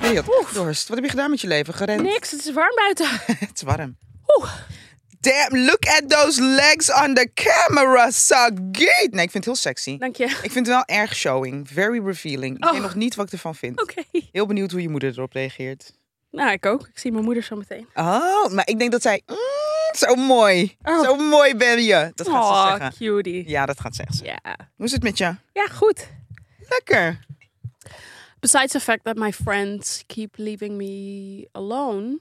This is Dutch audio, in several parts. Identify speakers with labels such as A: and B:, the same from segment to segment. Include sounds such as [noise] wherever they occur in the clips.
A: Nee, je had echt dorst. Wat heb je gedaan met je leven? Gerend?
B: Niks, het is warm buiten.
A: [laughs] Het is warm.
B: Oeh.
A: Damn, look at those legs on the camera, Sagit. Nee, ik vind het heel sexy.
B: Dank je.
A: Ik vind het wel erg showing. Very revealing. Ik
B: Oh.
A: weet nog niet wat ik ervan vind.
B: Oké.
A: Heel benieuwd hoe je moeder erop reageert.
B: Nou, ik ook. Ik zie mijn moeder zo meteen.
A: Oh, maar ik denk dat zij... "Mm, zo mooi.
B: Oh.
A: Zo mooi ben je. Dat gaat ze
B: Oh,
A: zeggen.
B: cutie.
A: Ja, dat gaat ze echt zeggen.
B: Ja.
A: Hoe is het met je?
B: Ja, goed.
A: Lekker.
B: Besides the fact that my friends keep leaving me alone.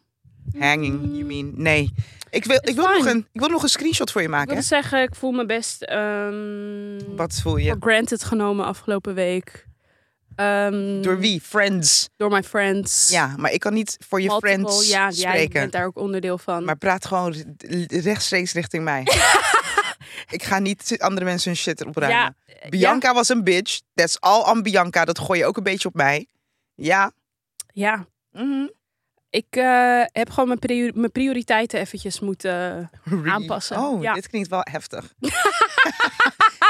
A: Hanging, you mean. Nee. Ik wil, ik
B: It's
A: wil, nog,
B: fine.
A: een, ik wil nog een screenshot voor je
B: Ik
A: maken.
B: wil dus
A: hè?
B: zeggen, ik voel me best ehm
A: Wat voel je?
B: for granted genomen afgelopen week. Ehm,
A: Door wie? Friends.
B: Door mijn friends.
A: Ja, maar ik kan niet voor je
B: Multiple.
A: friends
B: ja, jij
A: spreken.
B: bent daar ook onderdeel van.
A: Maar praat gewoon re- rechtstreeks richting
B: [laughs]
A: mij. ik ga niet andere mensen hun shit opruimen.
B: ja,
A: Bianca was een bitch. That's all on Bianca. Dat gooi je ook een beetje op mij. Ja.
B: ja,
A: Mhm.
B: ik eh, heb gewoon mijn, priori- mijn prioriteiten eventjes moeten...
A: Really?
B: Aanpassen,
A: Oh,
B: ja.
A: dit klinkt wel
B: [laughs]
A: heftig.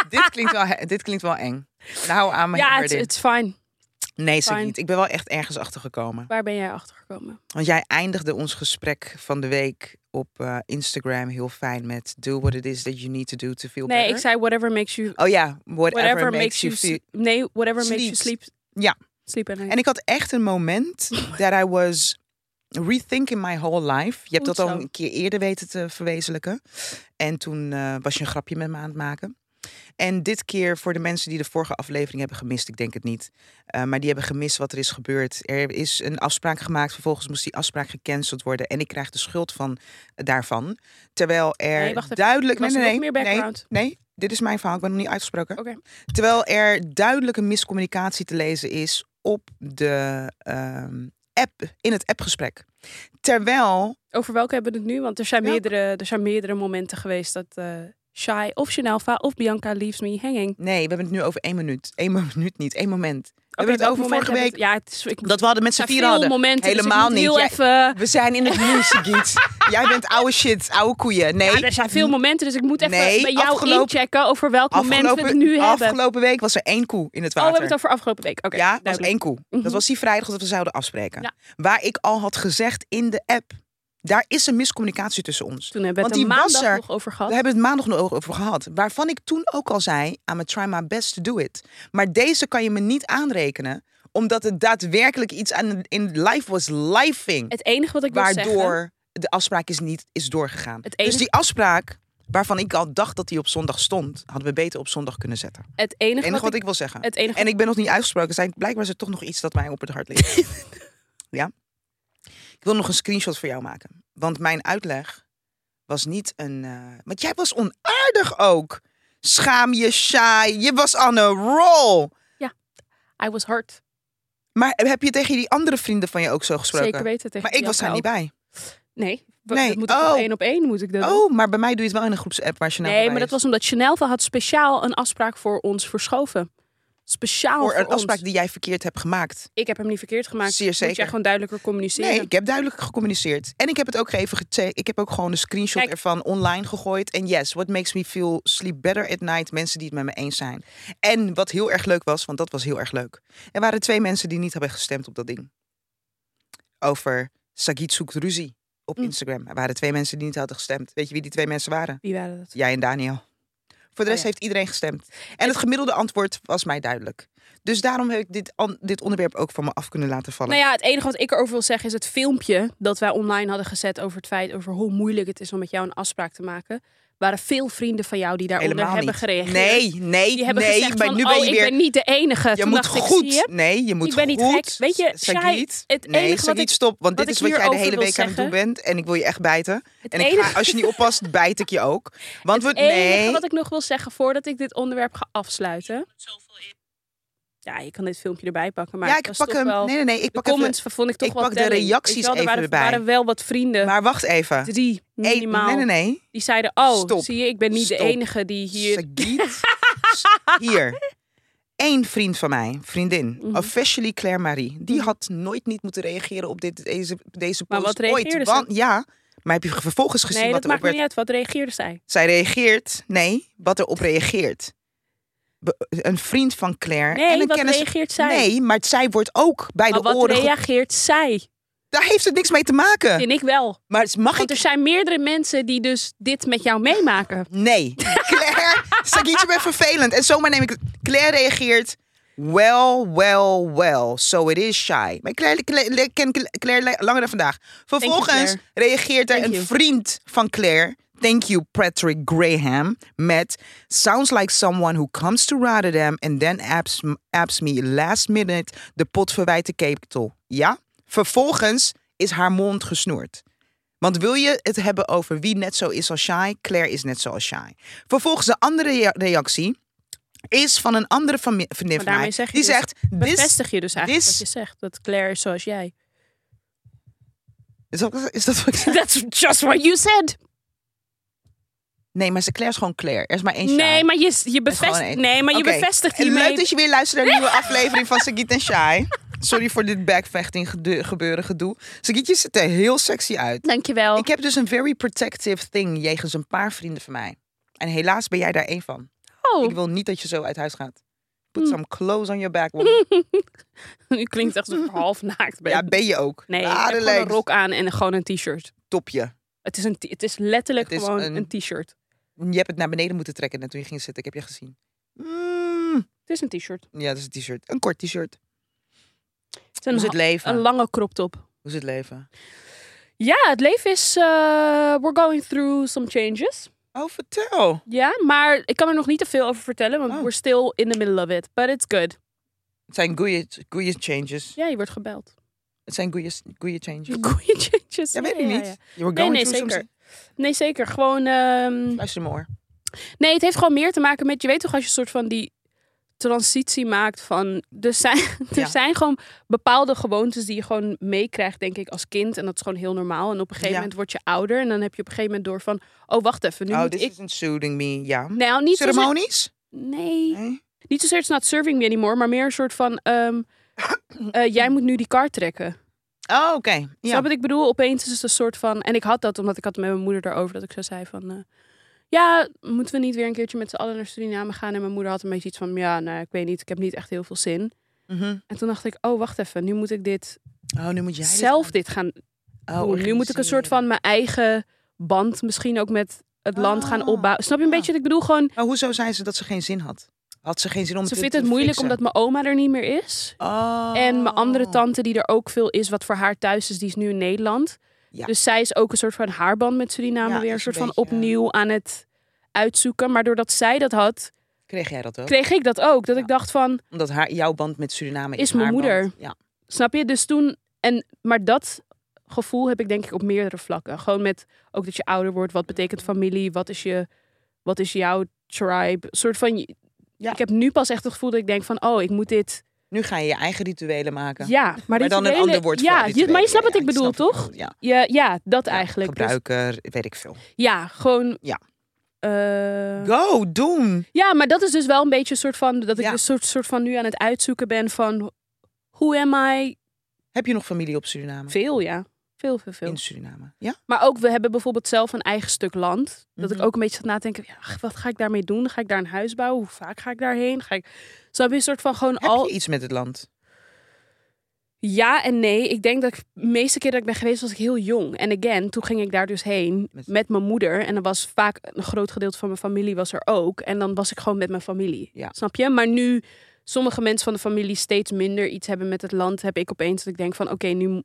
A: dit, klinkt wel, he- dit klinkt wel eng. Nou, aan mijn
B: ja,
A: ear
B: het
A: dit.
B: is fijn.
A: Nee, zeker
B: fine.
A: niet. Ik ben wel echt ergens achtergekomen.
B: Waar ben jij achter gekomen?
A: Want jij eindigde ons gesprek van de week op eh, Instagram heel fijn met... Do what it is that you need to do to feel
B: Nee,
A: better.
B: ik zei whatever makes you
A: Oh ja, whatever,
B: whatever,
A: makes, you feel...
B: s- nee whatever makes you
A: Sleep.
B: sleep.
A: Ja.
B: Sleep at night.
A: En ik had echt een moment dat I was rethinking my whole life. Je hebt
B: Goed
A: dat al
B: zo.
A: een keer eerder weten te verwezenlijken. En toen eh, was je een grapje met me aan het maken. En dit keer voor de mensen die de vorige aflevering hebben gemist, ik denk het niet. eh, maar die hebben gemist wat er is gebeurd. Er is een afspraak gemaakt, vervolgens moest die afspraak gecanceld worden. En ik krijg de schuld van, eh, daarvan. Terwijl er
B: Nee, wacht even.
A: duidelijk.
B: Was
A: nee,
B: er
A: nee,
B: nog meer
A: nee,
B: background?
A: Nee, nee, dit is mijn verhaal, ik ben nog niet uitgesproken.
B: Oké.
A: Terwijl er duidelijke miscommunicatie te lezen is op de ehm, app, in het appgesprek. Terwijl,
B: Over welke hebben we het nu? Want er zijn,
A: Welke?
B: meerdere, er zijn meerdere momenten geweest dat eh Shai of Chanelva of Bianca leaves me hanging.
A: nee, we hebben het nu over één minuut. Eén [laughs] minuut niet, één moment. We
B: Oké,
A: hebben het
B: welk
A: over
B: moment
A: vorige
B: hebben
A: week.
B: we het- Ja, het is, ik,
A: Dat we hadden met z'n
B: zijn
A: vier
B: veel
A: hadden.
B: momenten.
A: Helemaal
B: dus ik
A: niet.
B: moet heel
A: Jij-
B: even...
A: we zijn in het nieuws,
B: [laughs]
A: Giet. Jij bent oude shit, oude koeien. Nee,
B: Ja, er zijn veel momenten, dus ik moet even
A: Nee,
B: bij jou
A: afgelopen-
B: inchecken over welk moment we het
A: afgelopen,
B: nu hebben.
A: afgelopen week was er één koe in het
B: Oh, we
A: water.
B: hebben het over afgelopen week. Oké,
A: ja, was
B: duidelijk.
A: één koe.
B: Mhm.
A: Dat was die vrijdag dat we zouden afspreken.
B: Ja.
A: Waar ik al had gezegd in de app, daar is een miscommunicatie tussen ons.
B: Toen hebben we het
A: Want
B: er
A: die was
B: maandag
A: er.
B: nog over gehad.
A: We hebben het maandag nog over gehad. Waarvan ik toen ook al zei, I'm a try my best to do it. Maar deze kan je me niet aanrekenen, omdat het daadwerkelijk iets aan in life was lifing.
B: Het enige wat ik wil zeggen...
A: Waardoor de afspraak is niet is doorgegaan.
B: Het enige-
A: Dus die afspraak, waarvan ik al dacht dat die op zondag stond, hadden we beter op zondag kunnen zetten. Het
B: Het enige,
A: enige
B: wat
A: wat ik wil zeggen.
B: Het [laughs] enige
A: En ik ben nog niet uitgesproken. Zijn, blijkbaar is er toch nog iets dat mij op het hart
B: [laughs]
A: ligt. ja. Ik wil nog een screenshot voor jou maken. Want mijn uitleg was niet een... eh, Want jij was onaardig ook. Schaam je, saai. Je was on a roll.
B: I was hard.
A: Maar heb je tegen die andere vrienden van je ook zo gesproken?
B: Zeker weten tegen
A: Maar ik was daar niet
B: Bianca
A: bij.
B: ook. Nee, wa-
A: Nee,
B: dat moet
A: oh.
B: ik op één op één moet ik dat doen.
A: Oh, maar bij mij doe je het wel in een groepsapp waar je nou
B: Nee,
A: bij
B: maar dat
A: is.
B: was omdat Chanelva had speciaal een afspraak voor ons verschoven. Speciaal voor,
A: Voor een
B: ons.
A: afspraak die jij verkeerd hebt gemaakt.
B: Ik heb hem niet verkeerd gemaakt.
A: Zeer
B: Moet
A: zeker.
B: jij gewoon duidelijker communiceren.
A: Nee, ik heb duidelijk gecommuniceerd. En ik heb het ook even gecheckt. Ik heb ook gewoon een screenshot
B: Kijk.
A: ervan online gegooid. En yes, what makes me feel sleep better at night. Mensen die het met me eens zijn. En wat heel erg leuk was, want dat was heel erg leuk. Er waren twee mensen die niet hebben gestemd op dat ding. Over Sagit zoekt ruzie op
B: Mm.
A: Instagram. Er waren twee mensen die niet hadden gestemd. Weet je wie die twee mensen waren?
B: Wie waren dat?
A: Jij en Daniel. Voor de
B: Oh
A: rest
B: ja.
A: heeft iedereen gestemd. En het gemiddelde antwoord was mij duidelijk. Dus daarom heb ik dit, an- dit onderwerp ook van me af kunnen laten vallen.
B: Nou ja, het enige wat ik erover wil zeggen is het filmpje dat wij online hadden gezet over het feit over hoe moeilijk het is om met jou een afspraak te maken. Waren veel vrienden van jou die daaronder
A: Helemaal
B: hebben
A: niet.
B: gereageerd.
A: Nee, nee,
B: Die hebben
A: nee.
B: gezegd
A: maar
B: van,
A: nu ben
B: oh,
A: je
B: ik
A: weer.
B: ben niet de enige.
A: je
B: Toen
A: moet
B: dacht ik,
A: goed.
B: zie je?
A: Nee, je moet
B: Ik ben niet
A: goed.
B: gek. Weet je,
A: Sagiet,
B: Shai, het
A: nee,
B: enige wat
A: Sagiet,
B: ik-
A: stop. Want
B: wat
A: dit is
B: ik
A: wat jij de
B: hierover
A: hele
B: wil
A: week aan het doen
B: zeggen-
A: bent. En ik wil je echt bijten. En ik
B: enige-
A: ga, als je niet oppast, bijt ik je ook. Want we.
B: Het enige
A: Nee.
B: wat ik nog wil zeggen voordat ik dit onderwerp ga afsluiten. Ja, je kan dit filmpje erbij pakken, maar
A: ja,
B: het
A: ik
B: was
A: pak
B: toch
A: hem.
B: wel-
A: Nee, nee, nee. Ik
B: de
A: pak even-
B: comments vond ik toch
A: ik
B: wel
A: pak de
B: telling.
A: reacties
B: Weet je wel, er
A: even
B: waren,
A: erbij.
B: Er waren wel wat vrienden,
A: Maar wacht even.
B: drie
A: Eén-
B: minimaal,
A: nee, nee, nee.
B: die zeiden, oh,
A: Stop.
B: zie je, ik ben niet de
A: Stop.
B: enige die hier... [laughs]
A: Sagiet. S- Hier. Eén vriend van mij, vriendin,
B: Mhm.
A: officially Claire Marie, die
B: Mhm.
A: had nooit niet moeten reageren op dit, deze, deze
B: Maar
A: post.
B: wat reageerde
A: ooit.
B: ze?
A: Want, ja, maar heb je vervolgens gezien
B: nee,
A: wat
B: dat
A: er op
B: maakt me
A: werd
B: niet uit. Wat reageerde zij?
A: Zij reageert, nee, wat erop reageert. be- een vriend van Claire en
B: Nee,
A: een
B: wat
A: kennis.
B: reageert zij?
A: Nee, maar zij wordt ook bij
B: maar
A: de
B: wat
A: oren. ge-
B: reageert zij?
A: Daar heeft het niks mee te maken.
B: Vind ik wel.
A: Maar mag
B: Want
A: ik?
B: er zijn meerdere mensen die dus dit met jou meemaken.
A: Nee. Claire, [laughs] Sagiet, je bent vervelend. En zomaar neem ik het. Claire reageert. Well, well, well. So it is shy. Maar Claire, Claire, Claire- ken Cla- Claire le- langer dan vandaag. Vervolgens
B: Claire.
A: reageert er
B: Thank
A: een
B: you.
A: vriend van Claire. Thank you, Patrick Graham. Met Sounds like someone who comes to Rotterdam and then apps, apps me last minute de pot verwijt de ketel. Ja? Vervolgens is haar mond gesnoerd. Want wil je het hebben over wie net zo is als Shai? Claire is net zoals Shai. Vervolgens de andere rea- reactie is van een andere fami- vriendin
B: Maar
A: van mij.
B: daarmee zeg je
A: die
B: dus-
A: zegt, this...
B: Bevestig je dus eigenlijk
A: this-
B: wat je zegt. Dat Claire is zoals jij. [laughs]
A: Is dat, is dat wat ik zei?
B: That's just what you said.
A: Nee, maar ze- Claire is gewoon Claire. Er is maar één Shai.
B: Nee, maar je, je,
A: gewoon
B: bevestigt,
A: één.
B: nee, maar je
A: Oké.
B: bevestigt
A: En
B: die
A: Leuk
B: mee.
A: dat je weer luistert
B: [laughs]
A: naar een nieuwe aflevering van Sagit en Shai. Sorry voor dit backvechting gede- gebeuren gedoe. Sagiet, je ziet er heel sexy uit.
B: Dankjewel.
A: Ik heb dus een very protective thing jegens een paar vrienden van mij. En helaas ben jij daar één van. Ik
B: [laughs] Oh,
A: wil niet dat je zo uit huis gaat. Put
B: Hm.
A: some clothes on your back,
B: [laughs]
A: woman.
B: nu klinkt
A: [laughs]
B: echt alsof ik half naakt ben.
A: Ja, ben je ook. Ah,
B: nee, ik heb
A: Adelheid,
B: gewoon een rok aan en gewoon een t-shirt.
A: topje.
B: Het is, een t- het is letterlijk
A: Het is
B: gewoon
A: een-
B: een, t-shirt.
A: Je hebt het naar beneden moeten trekken net toen je ging zitten. Ik heb je gezien. Mm.
B: Het is een t-shirt.
A: Ja, dat is een t-shirt. Een kort t-shirt.
B: Het is
A: Hoe
B: een,
A: is het
B: ha-
A: leven?
B: een lange crop top.
A: Hoe is het leven?
B: Ja, het leven is... eh, we're going through some changes.
A: Oh, vertel.
B: Ja, maar ik kan er nog niet te veel over vertellen, want
A: Oh.
B: we're still in the middle of it. But it's good.
A: Het zijn goeie, goeie changes.
B: Ja, je wordt gebeld.
A: Het zijn goeie, goeie changes.
B: [laughs] Goeie changes.
A: Ja, weet ik
B: ja,
A: niet.
B: ja.
A: You're
B: Nee,
A: going
B: nee,
A: through
B: zeker.
A: something.
B: Nee, zeker. Gewoon... ehm,
A: Luister maar hoor.
B: Nee, het heeft gewoon meer te maken met... Je weet toch als je een soort van die transitie maakt van... Er zijn, [laughs] er
A: Ja.
B: zijn gewoon bepaalde gewoontes die je gewoon meekrijgt, denk ik, als kind. En dat is gewoon heel normaal. En op een gegeven
A: Ja.
B: moment word je ouder. En dan heb je op een gegeven moment door van... Oh, wacht even. Nu
A: Oh,
B: moet
A: this
B: ik...
A: isn't soothing me. Ja.
B: Nou, niet zozeer...
A: Ceremonies?
B: Nee.
A: Nee.
B: Niet zozeer it's not serving me anymore. Maar meer een soort van... ehm, [coughs] eh, jij moet nu die kar trekken.
A: Oh, oké.
B: Ja.
A: Ja.
B: wat ik bedoel? Opeens is het een soort van... En ik had dat, omdat ik had het met mijn moeder daarover. Dat ik zo zei van... eh, ja, moeten we niet weer een keertje met z'n allen naar Suriname gaan? En mijn moeder had een beetje iets van... Ja, nou, ik weet niet. Ik heb niet echt heel veel zin.
A: Mhm.
B: En toen dacht ik... Oh, wacht even. Nu moet ik dit
A: Oh, nu moet jij dit
B: zelf
A: gaan-
B: dit gaan
A: Oh,
B: doen. Nu moet ik een soort van mijn eigen band misschien ook met het land gaan
A: Ah.
B: opbouwen. Snap je een
A: Ja.
B: beetje wat ik bedoel? Gewoon,
A: Maar Oh, hoezo zei ze dat ze geen zin had? Had ze geen zin om
B: ze
A: te
B: vindt
A: te
B: het moeilijk
A: fixen?
B: omdat mijn oma er niet meer is.
A: Oh.
B: En mijn andere tante, die er ook veel is, wat voor haar thuis is, die is nu in Nederland.
A: Ja.
B: Dus zij is ook een soort van haar band met Suriname
A: Ja,
B: weer een
A: is
B: soort
A: een
B: van
A: beetje-
B: opnieuw aan het uitzoeken. Maar doordat zij dat had,
A: Kreeg jij dat ook?
B: kreeg ik dat ook. Dat ik dacht van,
A: Omdat haar, jouw band met Suriname is,
B: Is mijn
A: haar
B: moeder.
A: band. Ja.
B: snap je? Dus toen, en, maar dat gevoel heb ik denk ik op meerdere vlakken. Gewoon met ook dat je ouder wordt. Wat betekent
A: Mm.
B: familie? Wat is, je, wat is jouw tribe? Een soort van,
A: Ja.
B: ik heb nu pas echt het gevoel dat ik denk van, oh, ik moet dit.
A: Nu ga je je eigen rituelen maken.
B: Ja, maar,
A: maar dan een
B: rituelen-
A: ander woord
B: ja,
A: voor
B: je, Maar je snapt
A: rituelen.
B: wat ik
A: Ja,
B: bedoel,
A: snap
B: toch?
A: Ja.
B: Ja, ja, dat
A: Ja,
B: eigenlijk. Dus-
A: Gebruiker, weet ik veel.
B: Ja, gewoon.
A: Ja.
B: eh,
A: Go, doen.
B: ja, maar dat is dus wel een beetje een soort van. Dat ik
A: Ja.
B: dus soort, soort van nu aan het uitzoeken ben van. Hoe am I?
A: Heb je nog familie op Suriname?
B: Veel, ja. Veel, veel, veel.
A: In Suriname. Ja?
B: Maar ook, we hebben bijvoorbeeld zelf een eigen stuk land. Dat ik
A: Mhm.
B: ook een beetje zat na te denken. Ja, ach, wat ga ik daarmee doen? Ga ik daar een huis bouwen? Hoe vaak ga ik daarheen? Ga ik... Zo heb je een soort van gewoon
A: Heb
B: al.
A: je iets met het land?
B: Ja en nee. Ik denk dat ik, de meeste keer dat ik ben geweest was ik heel jong. En again, toen ging ik daar dus heen
A: Met-
B: met, mijn moeder. En er was vaak een groot gedeelte van mijn familie was er ook. En dan was ik gewoon met mijn familie.
A: Ja.
B: Snap je? Maar nu sommige mensen van de familie steeds minder iets hebben met het land. Heb ik opeens dat ik denk van oké, nu... m-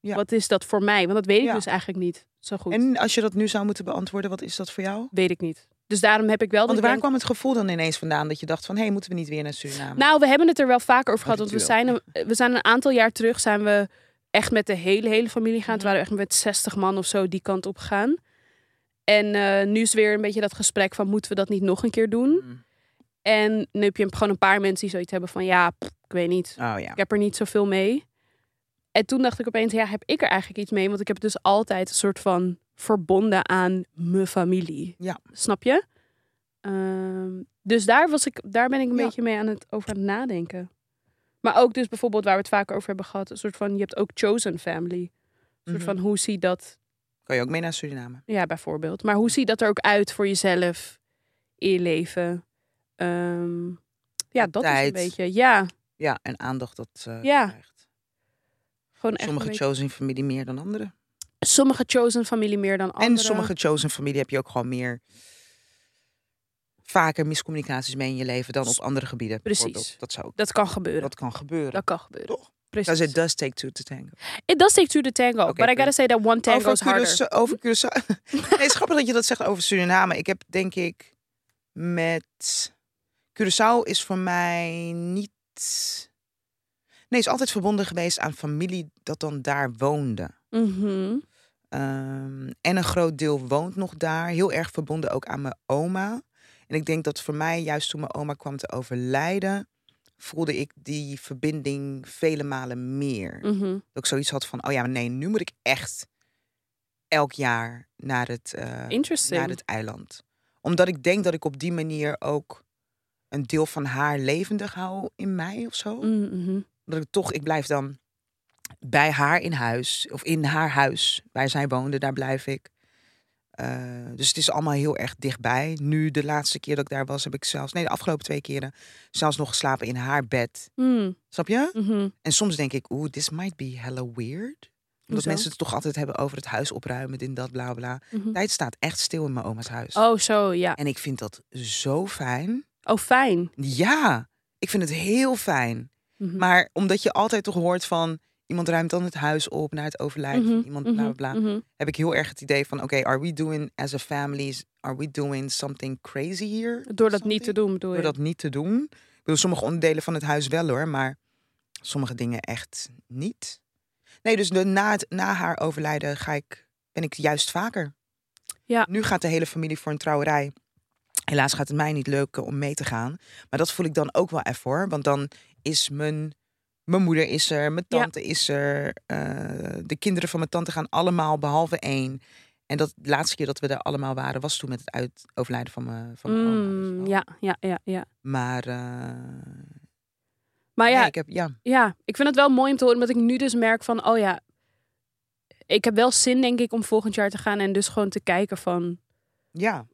A: Ja.
B: Wat is dat voor mij? Want dat weet ik
A: Ja.
B: dus eigenlijk niet zo goed.
A: En als je dat nu zou moeten beantwoorden, wat is dat voor jou?
B: Weet ik niet. Dus daarom heb ik wel...
A: Want
B: dat ik
A: waar
B: denk-
A: kwam het gevoel dan ineens vandaan dat je dacht van... hé, hey, moeten we niet weer naar Suriname?
B: Nou, we hebben het er wel vaker over
A: Oh,
B: gehad. Want we
A: natuurlijk.
B: zijn, een, we zijn een aantal jaar terug zijn we echt met de hele, hele familie gaan. Toen waren we echt met 60 man of zo die kant op gegaan. En eh, nu is weer een beetje dat gesprek van moeten we dat niet nog een keer doen?
A: Mm.
B: En nu heb je gewoon een paar mensen die zoiets hebben van ja, pff, ik weet niet.
A: Oh ja.
B: Ik heb er niet zoveel mee. En toen dacht ik opeens, ja, heb ik er eigenlijk iets mee? Want ik heb dus altijd een soort van verbonden aan mijn familie.
A: Ja.
B: Snap je? Ehm, dus daar, was ik, daar ben ik een
A: Ja.
B: beetje mee aan het, over aan het nadenken. Maar ook dus bijvoorbeeld waar we het vaak over hebben gehad. Een soort van, je hebt ook chosen family. Een soort
A: Mhm.
B: van, hoe ziet dat
A: Kan je ook mee naar Suriname?
B: ja, bijvoorbeeld. Maar hoe ziet dat er ook uit voor jezelf in je leven? Ehm, ja, dat is een
A: Tijd.
B: beetje. Ja,
A: Ja, en aandacht dat eh
B: Ja,
A: krijgt.
B: gewoon echt.
A: Sommige
B: een beetje-
A: chosen familie meer dan anderen.
B: sommige chosen familie meer dan anderen.
A: En sommige chosen familie heb je ook gewoon meer vaker miscommunicaties mee in je leven dan op andere gebieden.
B: Precies.
A: bijvoorbeeld. Dat zou ook.
B: Dat kan gebeuren. Dat,
A: Dat kan gebeuren.
B: kan gebeuren.
A: Toch?
B: Precies.
A: Because it does take two to tango.
B: It does take two to tango.
A: Oké,
B: but I gotta
A: punt.
B: say that one tango
A: Over
B: is harder. Hm?
A: Curaçao. Over Curaçao. [laughs] nee, het is grappig dat je dat zegt over Suriname. Ik heb denk ik met... Curaçao is voor mij niet... Nee, is altijd verbonden geweest aan familie dat dan daar woonde.
B: Mhm.
A: Ehm, en een groot deel woont nog daar. Heel erg verbonden ook aan mijn oma. En ik denk dat voor mij, juist toen mijn oma kwam te overlijden, voelde ik die verbinding vele malen meer.
B: Mhm.
A: Dat ik zoiets had van, oh ja, maar nee, nu moet ik echt elk jaar naar het, eh,
B: Interesting.
A: naar het eiland. Omdat ik denk dat ik op die manier ook een deel van haar levendig hou in mij of zo.
B: Mhm.
A: Dat ik toch, ik blijf dan bij haar in huis. Of in haar huis, waar zij woonde, daar blijf ik. Eh, dus het is allemaal heel erg dichtbij. Nu, de laatste keer dat ik daar was, heb ik zelfs... Nee, de afgelopen twee keren zelfs nog geslapen in haar bed.
B: Mm.
A: Snap je?
B: Mhm.
A: En soms denk ik, oeh, this might be hella weird. Omdat
B: Hoezo?
A: mensen het toch altijd hebben over het huis opruimen, dit, en dat, bla, bla.
B: Mhm.
A: Tijd staat echt stil in mijn oma's huis.
B: Oh, zo, ja.
A: En ik vind dat zo fijn.
B: Oh, fijn.
A: Ja, ik vind het heel fijn.
B: Mhm.
A: Maar omdat je altijd toch hoort van iemand ruimt dan het huis op na het overlijden
B: Mhm,
A: van iemand, bla bla
B: mhm,
A: bla.
B: mhm.
A: Heb ik heel erg het idee van: oké, are we doing as a family, are we doing something crazy here?
B: Door dat niet te doen, bedoel
A: Door
B: je?
A: dat niet te doen. Ik bedoel, sommige onderdelen van het huis wel hoor, maar sommige dingen echt niet. Nee, dus de, na, het, na haar overlijden ga ik, ben ik juist vaker.
B: Ja.
A: Nu gaat de hele familie voor een trouwerij. Helaas gaat het mij niet lukken om mee te gaan. Maar dat voel ik dan ook wel even hoor. Want dan is mijn, mijn moeder is er, mijn
B: Ja.
A: tante is er. eh, de kinderen van mijn tante gaan allemaal behalve één. En dat de laatste keer dat we er allemaal waren, was toen met het uit, overlijden van mijn, van mijn oma. weet je
B: Mm,
A: wel.
B: ja, ja, ja, ja.
A: Maar eh,
B: Maar ja,
A: nee, ik heb, ja,
B: ja, ik vind het wel mooi om te horen, omdat ik nu dus merk van, oh ja, ik heb wel zin denk ik om volgend jaar te gaan en dus gewoon te kijken van,
A: ja.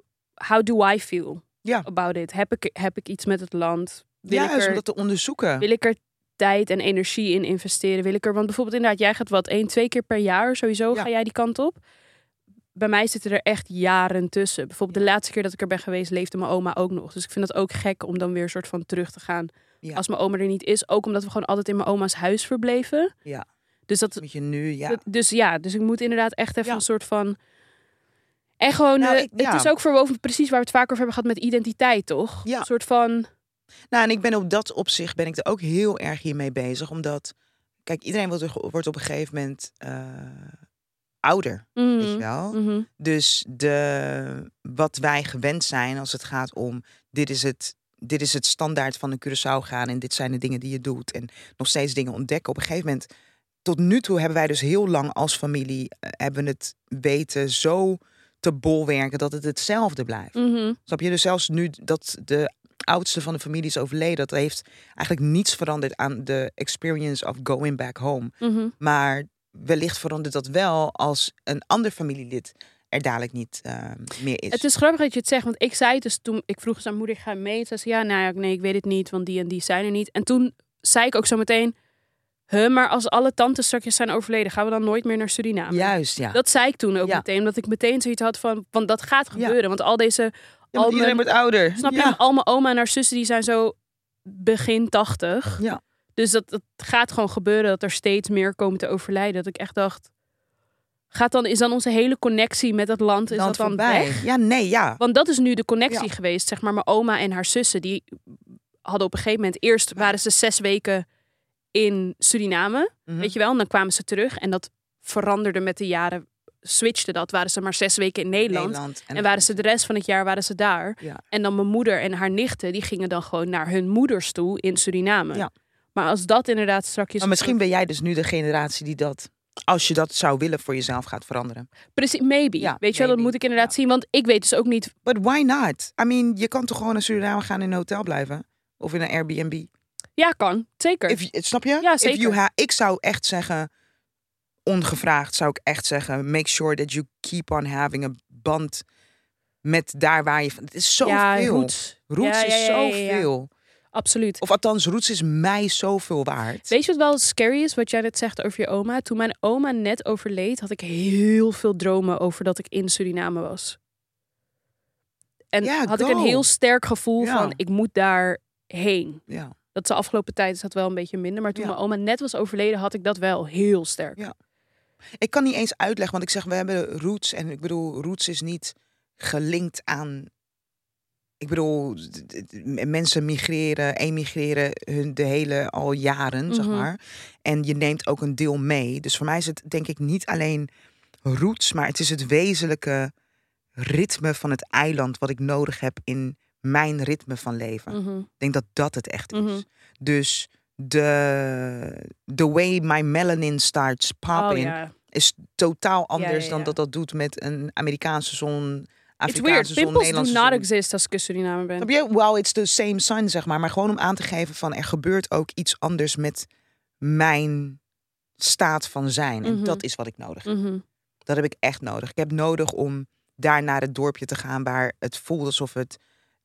B: how do I feel
A: Ja.
B: about it? Heb ik, heb ik iets met het land? Wil,
A: ja,
B: ik
A: is
B: er,
A: om dat te onderzoeken.
B: wil ik er tijd en energie in investeren? Wil ik er, want bijvoorbeeld inderdaad, jij gaat wat één, twee keer per jaar sowieso
A: Ja.
B: ga jij die kant op. Bij mij zitten er echt jaren tussen. Bijvoorbeeld de laatste keer dat ik er ben geweest, leefde mijn oma ook nog. Dus ik vind dat ook gek om dan weer een soort van terug te gaan.
A: Ja.
B: Als mijn oma er niet is. Ook omdat we gewoon altijd in mijn oma's huis verbleven.
A: Ja.
B: Dus dat,
A: Moet je nu, ja.
B: dat- dus ja, dus ik moet inderdaad echt even
A: Ja.
B: een soort van. En gewoon,
A: Nou,
B: eh,
A: ik- ja.
B: het is ook verwoven precies waar we het vaker over hebben gehad met identiteit, toch?
A: Ja.
B: Een soort van.
A: Nou, en ik ben op dat opzicht ben ik er ook heel erg hiermee bezig. Omdat, kijk, iedereen wordt, wordt op een gegeven moment eh, ouder,
B: Mm,
A: weet je wel.
B: mhm.
A: Dus de, wat wij gewend zijn als het gaat om dit is het, dit is het standaard van een Curaçao gaan en dit zijn de dingen die je doet en nog steeds dingen ontdekken. Op een gegeven moment, tot nu toe hebben wij dus heel lang als familie eh, hebben het weten zo te bolwerken dat het hetzelfde blijft.
B: mhm.
A: Snap je? Dus zelfs nu dat de oudste van de familie is overleden, dat heeft eigenlijk niets veranderd aan de experience of going back home.
B: Mhm.
A: Maar wellicht verandert dat wel als een ander familielid er dadelijk niet eh, meer is.
B: Het is grappig dat je het zegt, want ik zei het dus toen ik vroeg eens aan moeder, ga je mee? Toen zei ze, ja, nou ja, nee, ik weet het niet, want die en die zijn er niet. En toen zei ik ook zo meteen, huh, maar als alle tantes straks zijn overleden, gaan we dan nooit meer naar Suriname?
A: Juist, ja.
B: Dat zei ik toen ook
A: Ja.
B: meteen, omdat ik meteen zoiets had van, want dat gaat
A: Ja.
B: gebeuren, want al deze,
A: Ja, want
B: al
A: iedereen
B: mijn
A: wordt ouder.
B: Snap je?
A: Ja.
B: Al mijn oma en haar zussen die zijn zo begin tachtig.
A: Ja.
B: Dus dat, dat gaat gewoon gebeuren dat er steeds meer komen te overlijden. Dat ik echt dacht, gaat dan, is dan onze hele connectie met het land, is
A: Dan
B: dat dan
A: voorbij.
B: weg?
A: Ja, nee, ja.
B: Want dat is nu de connectie
A: Ja.
B: geweest, zeg maar. Mijn oma en haar zussen, die hadden op een gegeven moment... Eerst waren ze zes weken in Suriname,
A: Mhm.
B: weet je wel. En dan kwamen ze terug en dat veranderde met de jaren. Switchte dat, waren ze maar zes weken in Nederland. En waren ze de rest van het jaar waren ze daar.
A: Ja.
B: En dan mijn moeder en haar nichten, die gingen dan gewoon naar hun moeders toe in Suriname.
A: Ja.
B: Maar als dat inderdaad strakjes...
A: Maar misschien ben jij dus nu de generatie die dat, als je dat zou willen, voor jezelf gaat veranderen.
B: Precies, maybe.
A: Ja,
B: weet je wel, dat
A: maybe.
B: moet ik inderdaad zien. Want ik weet dus ook niet...
A: But why not? I mean, je kan toch gewoon naar Suriname gaan in een hotel blijven? Of in een Airbnb?
B: Ja, kan. Zeker.
A: If, you- snap je?
B: Ja,
A: If you
B: zeker.
A: ha- ik zou echt zeggen, ongevraagd zou ik echt zeggen, make sure that you keep on having a band met daar waar je van. Het is zoveel.
B: ja,
A: veel.
B: roots.
A: Roots
B: Ja, ja,
A: is
B: ja, ja, ja.
A: zoveel.
B: Absoluut.
A: Of althans, Roots is mij zoveel waard.
B: Weet je wat wel scary is, wat jij net zegt over je oma? Toen mijn oma net overleed, had ik heel veel dromen over dat ik in Suriname was. En
A: Ja,
B: had ik een
A: go.
B: heel sterk gevoel
A: Ja.
B: van, ik moet daar heen.
A: Ja.
B: Dat is de afgelopen tijd is dat wel een beetje minder. Maar toen
A: Ja.
B: mijn oma net was overleden, had ik dat wel heel sterk.
A: Ja. Ik kan niet eens uitleggen, want ik zeg, we hebben Roots. En ik bedoel, Roots is niet gelinkt aan... Ik bedoel, d- d- d- m- mensen migreren, emigreren hun de hele al jaren, zeg
B: Mhm.
A: maar. En je neemt ook een deel mee. Dus voor mij is het denk ik niet alleen Roots, maar het is het wezenlijke ritme van het eiland wat ik nodig heb in mijn ritme van leven.
B: Mhm.
A: Ik denk dat dat het echt is.
B: Mhm.
A: Dus de the way my melanin starts
B: Oh
A: popping
B: ja.
A: is totaal anders
B: ja,
A: dan
B: ja.
A: dat dat doet met een Amerikaanse zon,
B: It's weird.
A: Afrikaanse zon,
B: Pimples do
A: Nederlandse
B: not
A: zon.
B: exist als ik in Suriname ben.
A: Snap je? Well, it's the same sun, zeg maar. Maar gewoon om aan te geven van er gebeurt ook iets anders met mijn staat van zijn. En
B: Mhm.
A: dat is wat ik nodig heb.
B: Mhm.
A: Dat heb ik echt nodig. Ik heb nodig om daar naar het dorpje te gaan waar het voelt alsof het,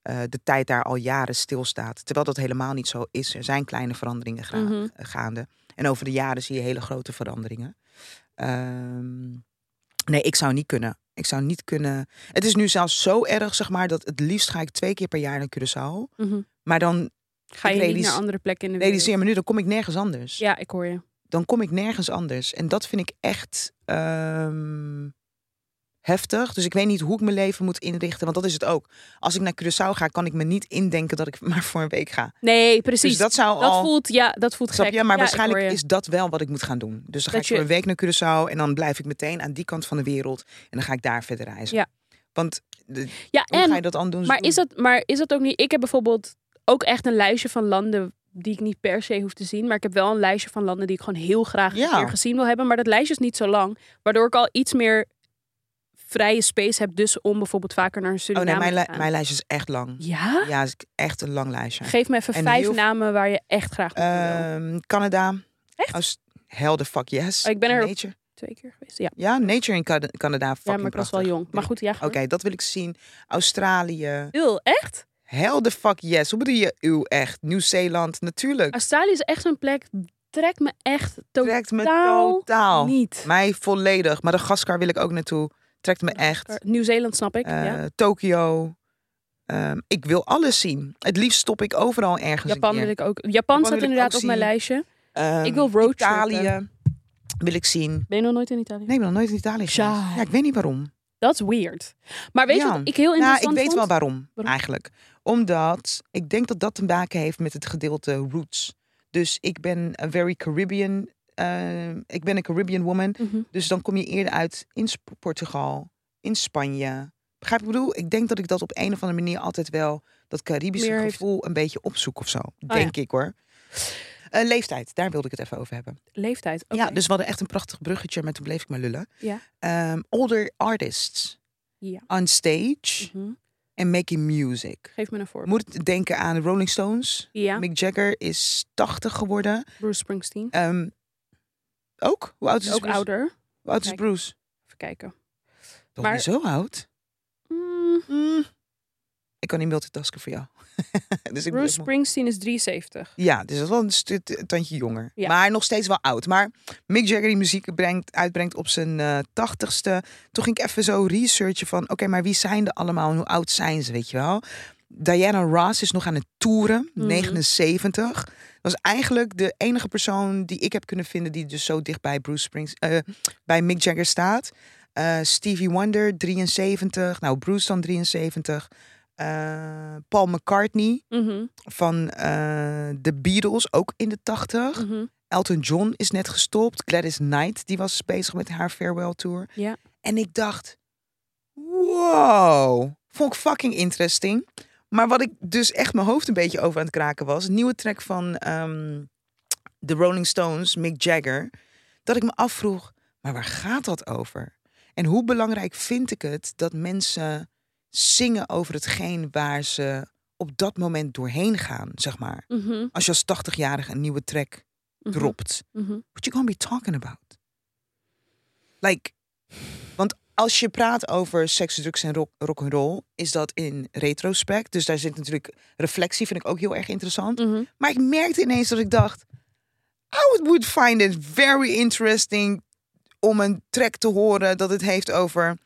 A: eh, de tijd daar al jaren stilstaat. Terwijl dat helemaal niet zo is. Er zijn kleine veranderingen gra- eh,
B: Mhm.
A: gaande. En over de jaren zie je hele grote veranderingen. Ehm, nee, ik zou niet kunnen. Ik zou niet kunnen. Het is nu zelfs zo erg, zeg maar, dat het liefst ga ik twee keer per jaar naar Curaçao.
B: Mhm.
A: Maar dan
B: Ga
A: Ik
B: je niet
A: realis-
B: naar andere plekken in de wereld?
A: realiseer me nu, dan kom ik nergens anders
B: Ja, ik hoor je.
A: dan kom ik nergens anders. En dat vind ik echt ehm, heftig. Dus ik weet niet hoe ik mijn leven moet inrichten. Want dat is het ook. Als ik naar Curaçao ga, kan ik me niet indenken dat ik [laughs] maar voor een week ga.
B: Nee, precies.
A: Dus dat zou
B: Dat
A: al...
B: voelt, ja, dat voelt
A: Snap
B: gek.
A: je? Maar
B: Ja, ik
A: waarschijnlijk
B: hoor je.
A: is dat wel wat ik moet gaan doen. Dus dan ga
B: Dat
A: ik voor
B: je-
A: een week naar Curaçao en dan blijf ik meteen aan die kant van de wereld. En dan ga ik daar verder reizen.
B: Ja.
A: Want de-
B: Ja,
A: hoe
B: en
A: ga je dat aan doen?
B: Maar is, dat, maar is dat ook niet... Ik heb bijvoorbeeld ook echt een lijstje van landen die ik niet per se hoef te zien. Maar ik heb wel een lijstje van landen die ik gewoon heel graag een
A: Ja.
B: keer gezien wil hebben. Maar dat lijstje is niet zo lang. Waardoor ik al iets meer vrije space heb. Dus om bijvoorbeeld vaker naar een
A: Oh
B: Suriname
A: nee, mijn,
B: te
A: li-
B: gaan.
A: mijn lijstje is echt lang.
B: Ja?
A: Ja, is echt een lang lijstje.
B: Geef me even
A: En
B: vijf
A: heel-
B: namen waar je echt graag naartoe wil.
A: Ehm, Canada.
B: Echt?
A: Als, hell the fuck yes.
B: Oh, ik ben er-
A: Nature.
B: Twee keer geweest. Ja,
A: Ja, nature in Cada- Canada. Fucking
B: ja maar ik was
A: prachtig.
B: wel jong. Maar goed, ja.
A: Oké, dat wil ik zien. Australië.
B: Eeuw, echt?
A: Hell the fuck yes. Hoe bedoel je uw echt? Nieuw-Zeeland, natuurlijk.
B: Australië is echt zo'n plek... Trekt me echt
A: Trekt me
B: totaal
A: totaal.
B: niet.
A: Mij volledig. Madagaskar wil ik ook naartoe. Trekt me echt.
B: Nieuw-Zeeland snap ik.
A: Eh,
B: ja.
A: Tokio. Ehm, ik wil alles zien. Het liefst stop ik overal ergens
B: Japan
A: een
B: wil
A: keer.
B: ik ook. Japan,
A: wil
B: staat
A: ik
B: inderdaad op
A: ook
B: mijn
A: zien.
B: lijstje.
A: Ehm,
B: ik wil roadtrippen.
A: Italië wil ik zien.
B: Ben je nog nooit in Italië?
A: Nee, ik ben nog nooit in Italië geweest.
B: Ja.
A: Ja, ik weet niet waarom.
B: Dat is weird. Maar weet je
A: Ja.
B: wat ik heel
A: Nou,
B: interessant
A: ik weet
B: vond?
A: wel waarom,
B: Waarom?
A: eigenlijk. Omdat ik denk dat dat te maken heeft met het gedeelte roots. Dus ik ben een very Caribbean. eh, ik ben een Caribbean woman.
B: Mhm.
A: Dus dan kom je eerder uit in Sp- Portugal, in Spanje. Begrijp je wat ik bedoel? Ik denk dat ik dat op een of andere manier altijd wel dat Caribische
B: Meer heeft- Oh
A: gevoel een beetje opzoek of zo. denk ik hoor. Eh, leeftijd, daar wilde ik het even over hebben.
B: Leeftijd. oké.
A: Ja, dus we hadden echt een prachtig bruggetje, maar toen bleef ik maar lullen.
B: Ja.
A: Ehm, older artists
B: Ja.
A: on stage
B: Mhm.
A: en making music.
B: Geef me een voorbeeld.
A: Moet denken aan de Rolling Stones.
B: Ja,
A: Mick Jagger is 80 geworden.
B: Bruce Springsteen.
A: Ehm, ook? Hoe oud is
B: Is ook
A: Bruce?
B: ouder.
A: Hoe oud is
B: Kijk.
A: Bruce?
B: Even kijken.
A: Toch
B: Maar-
A: niet zo oud?
B: Mm,
A: Mm. Ik kan niet multitasken voor jou. [laughs] dus ik
B: Bruce
A: moet-
B: Springsteen is 73.
A: Ja, dus dat is wel een stu- t- tandje jonger.
B: Ja.
A: Maar nog steeds wel oud. Maar Mick Jagger die muziek brengt, uitbrengt op zijn eh, 80ste. Toen ging ik even zo researchen van... oké, maar wie zijn er allemaal en hoe oud zijn ze, weet je wel? Diana Ross is nog aan het toeren,
B: Mhm.
A: 79. Dat was eigenlijk de enige persoon die ik heb kunnen vinden... die dus zo dicht bij, Bruce Springs, eh, bij Mick Jagger staat. Eh, Stevie Wonder, 73. Nou, Bruce dan 73. Eh, Paul McCartney
B: Mhm,
A: van eh de Beatles, ook in de 80.
B: mhm.
A: Elton John is net gestopt. Gladys Knight, die was bezig met haar farewell tour.
B: Ja.
A: En ik dacht, wow, vond ik fucking interesting. Maar wat ik dus echt mijn hoofd een beetje over aan het kraken was, een nieuwe track van ehm, de Rolling Stones, Mick Jagger, dat ik me afvroeg, maar waar gaat dat over? En hoe belangrijk vind ik het dat mensen zingen over hetgeen waar ze op dat moment doorheen gaan, zeg maar.
B: Mhm, mhm,
A: Als je als 80-jarige een nieuwe track dropt
B: mhm.
A: what you gonna be talking about? Like, want als je praat over seks, drugs en rock, rock'n'roll, is dat in retrospect. Dus daar zit natuurlijk reflectie, vind ik ook heel erg interessant.
B: Mhm.
A: Maar ik merkte ineens dat ik dacht, I would find it very interesting om een track te horen dat het heeft over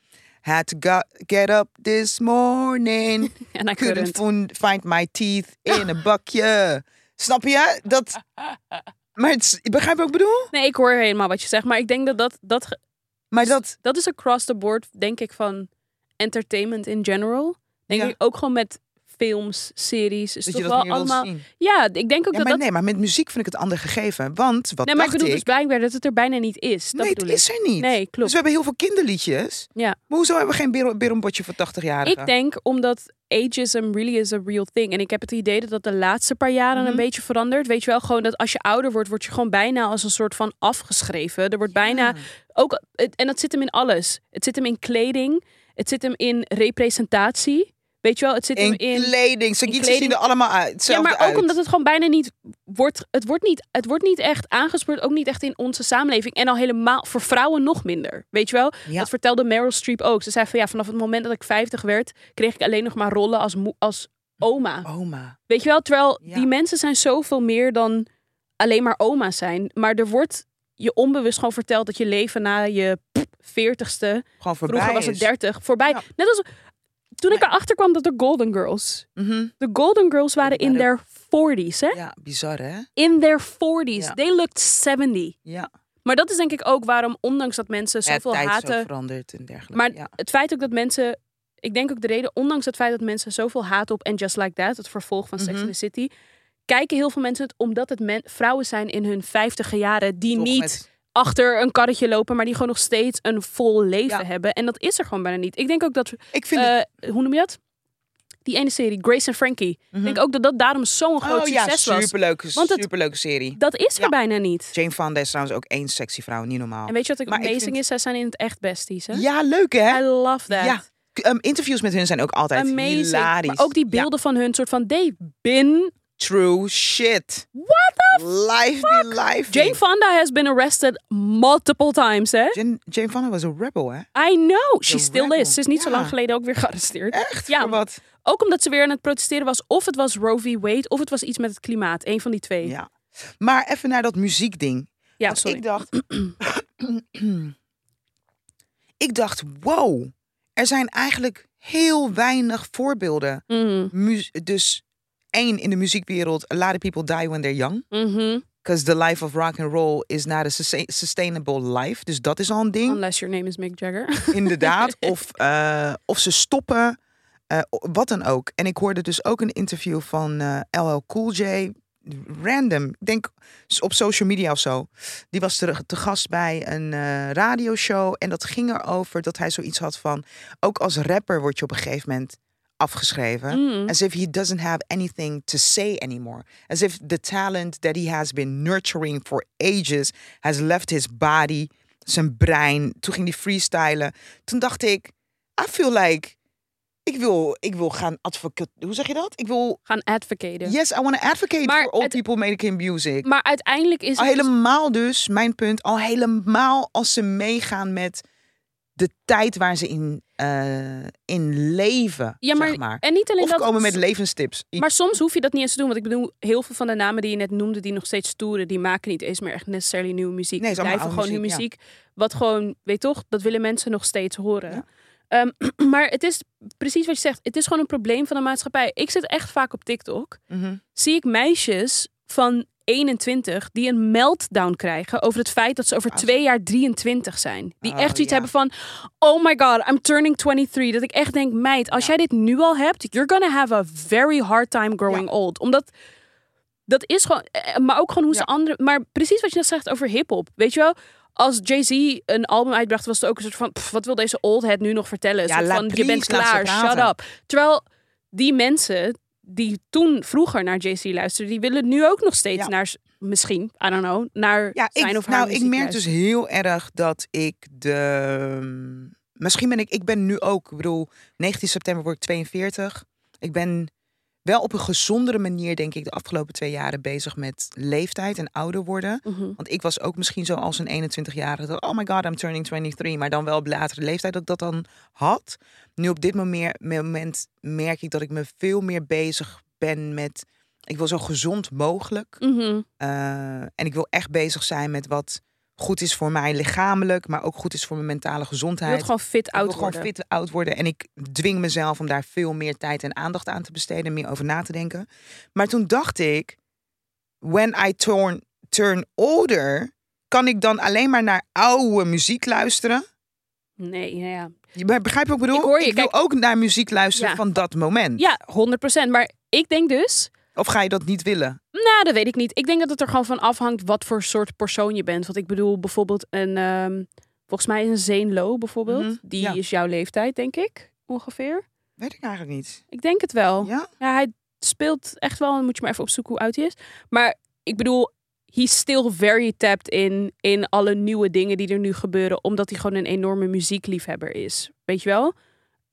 A: had to go- get up this morning,
B: En I
A: couldn't
B: couldn't.
A: fun- find my teeth in een bakje. Snap je? Dat. Maar het, is- begrijp je wat ik bedoel?
B: Nee, ik hoor helemaal wat je zegt. Maar ik denk dat dat, dat
A: Maar dat,
B: dat is across the board, denk ik, van entertainment in general. Denk
A: Ja.
B: ik ook gewoon met films, series. Is
A: dat je
B: toch
A: dat
B: wel
A: meer wilt
B: allemaal.
A: zien.
B: Ja, ik denk ook
A: Ja,
B: dat
A: maar
B: dat.
A: nee, maar met muziek vind ik het ander gegeven. Want wat
B: nee, maar
A: dacht
B: ik bedoel
A: ik?
B: dus blijkbaar dat het er bijna niet is. Dat
A: nee, het
B: bedoel ik.
A: is er niet.
B: Nee, klopt.
A: Dus we hebben heel veel kinderliedjes.
B: Ja.
A: Maar hoezo hebben we geen bero- berombotje voor 80-jarigen?
B: Ik denk omdat ageism really is a real thing. En ik heb het idee dat dat de laatste paar jaren
A: Mhm.
B: een beetje verandert. Weet je wel, gewoon dat als je ouder wordt, word je gewoon bijna als een soort van afgeschreven. Er wordt bijna ook, het- en dat zit hem in alles. Het zit hem in kleding, het zit hem in representatie. Weet je wel, het zit hem
A: in
B: in.
A: kleding. Ze
B: in
A: zien er
B: kleding.
A: allemaal uit.
B: Ja,
A: hetzelfde
B: maar ook
A: uit.
B: omdat het gewoon bijna niet wordt. Het wordt niet, het wordt niet echt aangespoord. Ook niet echt in onze samenleving. En al helemaal voor vrouwen nog minder. Weet je wel?
A: Ja.
B: Dat vertelde Meryl Streep ook. Ze zei van ja, vanaf het moment dat ik 50 werd, kreeg ik alleen nog maar rollen als, moe- als oma.
A: Oma.
B: Weet je wel? Terwijl
A: Oh. Ja.
B: die mensen zijn zoveel meer dan alleen maar oma's zijn. Maar er wordt je onbewust gewoon verteld dat je leven na je 40ste
A: Gewoon voorbij
B: Vroeger was
A: is.
B: het 30. Voorbij.
A: Ja.
B: Net als toen ik erachter kwam dat de Golden Girls.
A: Mhm.
B: De Golden Girls waren in
A: waren-
B: their 40s, hè?
A: Ja, bizar hè?
B: In their 40s.
A: Ja.
B: They looked 70.
A: Ja.
B: Maar dat is denk ik ook waarom, ondanks dat mensen
A: Ja,
B: zoveel
A: tijd zo
B: haten.
A: veranderd en dergelijke.
B: Maar
A: ja.
B: het feit ook dat mensen. Ik denk ook de reden, ondanks het feit dat mensen zoveel haat op en Just Like That, het vervolg van Sex
A: Mhm.
B: in the City, kijken heel veel mensen het omdat het men- vrouwen zijn in hun vijftiger jaren die
A: Toch
B: niet
A: met-
B: achter een karretje lopen, maar die gewoon nog steeds een vol leven
A: Ja.
B: hebben. En dat is er gewoon bijna niet. Ik denk ook dat
A: Ik vind het...
B: eh, hoe noem je dat? Die ene serie, Grace en Frankie.
A: Mhm.
B: Ik denk ook dat dat daarom zo'n groot
A: Oh ja,
B: succes was.
A: superleuke,
B: Want het-
A: superleuke serie.
B: Dat is er
A: Ja.
B: bijna niet.
A: Jane Fonda is trouwens ook één sexy vrouw, niet normaal.
B: En weet je wat ik
A: Maar ik
B: amazing
A: vind-
B: is? Zij zijn in het echt besties, hè?
A: Ja, leuk hè?
B: I love that.
A: Ja, K- um, interviews met hun zijn ook altijd
B: amazing.
A: hilarisch.
B: Maar ook die
A: Ja.
B: beelden van hun, soort van, they been...
A: True shit.
B: What the f-
A: Life be life.
B: Jane Fonda has been arrested multiple times, hè?
A: Jane, Jane Fonda was een rebel, hè?
B: I know. She
A: The
B: still
A: rebel.
B: is. Ze is niet zo
A: Ja. Eh.
B: lang geleden ook weer gearresteerd.
A: Echt?
B: Ja,
A: Voor wat?
B: Ook omdat ze weer aan het protesteren was. Of het was Roe v. Wade, of het was iets met het klimaat. Eén van die twee. Ja,
A: Ja. Oh, Maar even naar dat muziekding. Want
B: sorry.
A: ik dacht... ik dacht, wow. Er zijn eigenlijk heel weinig voorbeelden.
B: Mhm.
A: Mu- dus één in de muziekwereld. A lot of people die when they're young.
B: Mhm.
A: Because the life of rock and roll is not a sus- sustainable life. Dus dat is al een ding.
B: Unless your name is Mick Jagger.
A: [laughs] Inderdaad. Of, eh, of ze stoppen. eh, o- wat dan ook. En ik hoorde dus ook een interview van eh, LL Cool J. Random. Ik denk s- op social media of zo. Die was te, te gast bij een eh, radioshow. En dat ging erover dat hij zoiets had van... Ook als rapper word je op een gegeven moment afgeschreven.
B: Mm.
A: As if he doesn't have anything to say anymore. As if the talent that he has been nurturing for ages has left his body, zijn brein. Toen ging hij freestylen. Toen dacht ik, I feel like, ik wil, ik wil gaan advocate. Hoe zeg je dat? Ik wil,
B: gaan advocaten.
A: yes, I want to advocate
B: Maar
A: for all
B: het-
A: people making music.
B: Maar uiteindelijk is
A: Al
B: het dus-
A: Oh, helemaal dus, mijn punt, al helemaal als ze meegaan met de tijd waar ze in, eh, in leven,
B: ja, maar,
A: zeg maar.
B: En niet alleen
A: Of
B: dat.
A: komen met levenstips. Iets-
B: maar soms hoef je dat niet eens te doen. Want ik bedoel, heel veel van de namen die je net noemde, die nog steeds toeren, die maken niet eens meer echt necessarily nieuwe muziek.
A: Nee, het is
B: Die
A: allemaal
B: blijven gewoon
A: oude
B: hun muziek. Wat gewoon, weet toch, dat willen mensen nog steeds horen.
A: Ja.
B: Ehm, [clears throat] maar het is precies wat je zegt. Het is gewoon een probleem van de maatschappij. Ik zit echt vaak op TikTok.
A: Mhm.
B: zie ik meisjes van 21 die een meltdown krijgen over het feit dat ze over
A: Ah.
B: twee jaar 23 zijn. Die
A: Oh,
B: echt iets
A: ja.
B: hebben van, oh my god, I'm turning 23. Dat ik echt denk, meid, als
A: Ja.
B: jij dit nu al hebt, you're gonna have a very hard time growing old. Omdat dat is gewoon, eh, maar ook gewoon hoe ze
A: Ja.
B: andere, maar precies wat je net zegt over hip-hop. Weet je wel? Als Jay-Z een album uitbracht, was het ook een soort van, "Pff, wat wil deze old head nu nog vertellen? Een
A: Ja,
B: soort
A: laat
B: van, je bent
A: please, laat ze
B: klaar, shut
A: praten."
B: up. Terwijl die mensen die toen vroeger naar Jay-Z luisterden, die willen nu ook nog steeds
A: Ja.
B: naar, s- misschien, I don't know, naar
A: Ja,
B: zijn
A: ik,
B: of haar
A: nou, ik
B: muziek
A: merk dus
B: luisteren.
A: heel erg dat ik ehm, de. Misschien ben ik. Ik ben nu ook. Ik bedoel, 19 september word ik 42. Ik ben wel op een gezondere manier, denk ik, de afgelopen twee jaren bezig met leeftijd en ouder worden.
B: Mhm.
A: Want ik was ook misschien zo als een 21-jarige dat, oh my god, I'm turning 23. Maar dan wel op latere leeftijd dat ik dat dan had. Nu op dit momeer- moment merk ik dat ik me veel meer bezig ben met, ik wil zo gezond mogelijk.
B: Mhm.
A: Eh, en ik wil echt bezig zijn met wat goed is voor mij lichamelijk, maar ook goed is voor mijn mentale
B: Je
A: gezondheid.
B: wilt gewoon fit
A: Ik wil
B: oud
A: gewoon
B: worden.
A: fit oud worden. En ik dwing mezelf om daar veel meer tijd en aandacht aan te besteden. en Meer over na te denken. Maar toen dacht ik, when I turn, turn older, kan ik dan alleen maar naar oude muziek luisteren?
B: Nee, ja, ja.
A: Je be- begrijp je wat ik bedoel?
B: Ik hoor je,
A: wil
B: kijk-
A: ook naar muziek luisteren
B: Ja.
A: van dat moment.
B: Ja, 100%. Maar ik denk dus,
A: Of ga je dat niet willen?
B: nou, dat weet ik niet. Ik denk dat het er gewoon van afhangt wat voor soort persoon je bent. Want ik bedoel bijvoorbeeld een, ehm, volgens mij een Zane Low bijvoorbeeld.
A: Mhm,
B: Die
A: ja.
B: is jouw leeftijd, denk ik, ongeveer.
A: Weet ik eigenlijk niet.
B: Ik denk het wel.
A: Ja?
B: Ja, hij speelt echt wel. Dan moet je maar even opzoeken hoe oud hij is. Maar ik bedoel, he's still very tapped in, in alle nieuwe dingen die er nu gebeuren. Omdat hij gewoon een enorme muziekliefhebber is. Weet je wel?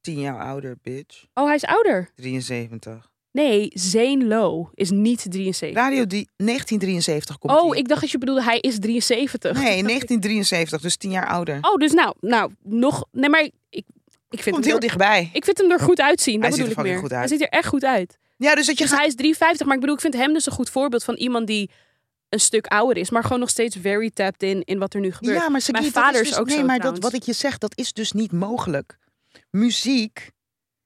A: Tien jaar ouder, bitch.
B: Oh, hij is ouder.
A: 73.
B: Nee, Zane Low is niet 73.
A: Radio die 1973 komt
B: Oh,
A: die.
B: ik [laughs] dacht dat je bedoelde hij is 73. [laughs]
A: Nee, 1973, dus tien jaar ouder.
B: Oh, dus nou, nou, nog... Nee, maar ik, ik, vind,
A: komt
B: hem
A: heel
B: er,
A: dichtbij.
B: ik vind hem er goed uitzien. Dat
A: Hij ziet er
B: bedoel ik
A: fucking
B: meer.
A: goed
B: Hij
A: uit.
B: ziet er echt goed uit.
A: Ja, dus dat je
B: Dus hij is 350, maar ik bedoel, ik vind hem dus een goed voorbeeld van iemand die een stuk ouder is, maar gewoon nog steeds very tapped in in wat er nu gebeurt.
A: Ja, maar ze
B: Mijn
A: dat is,
B: vader is
A: dus-
B: ook
A: nee,
B: zo
A: maar dat,
B: trouwens.
A: wat ik je zeg, dat is dus niet mogelijk. Muziek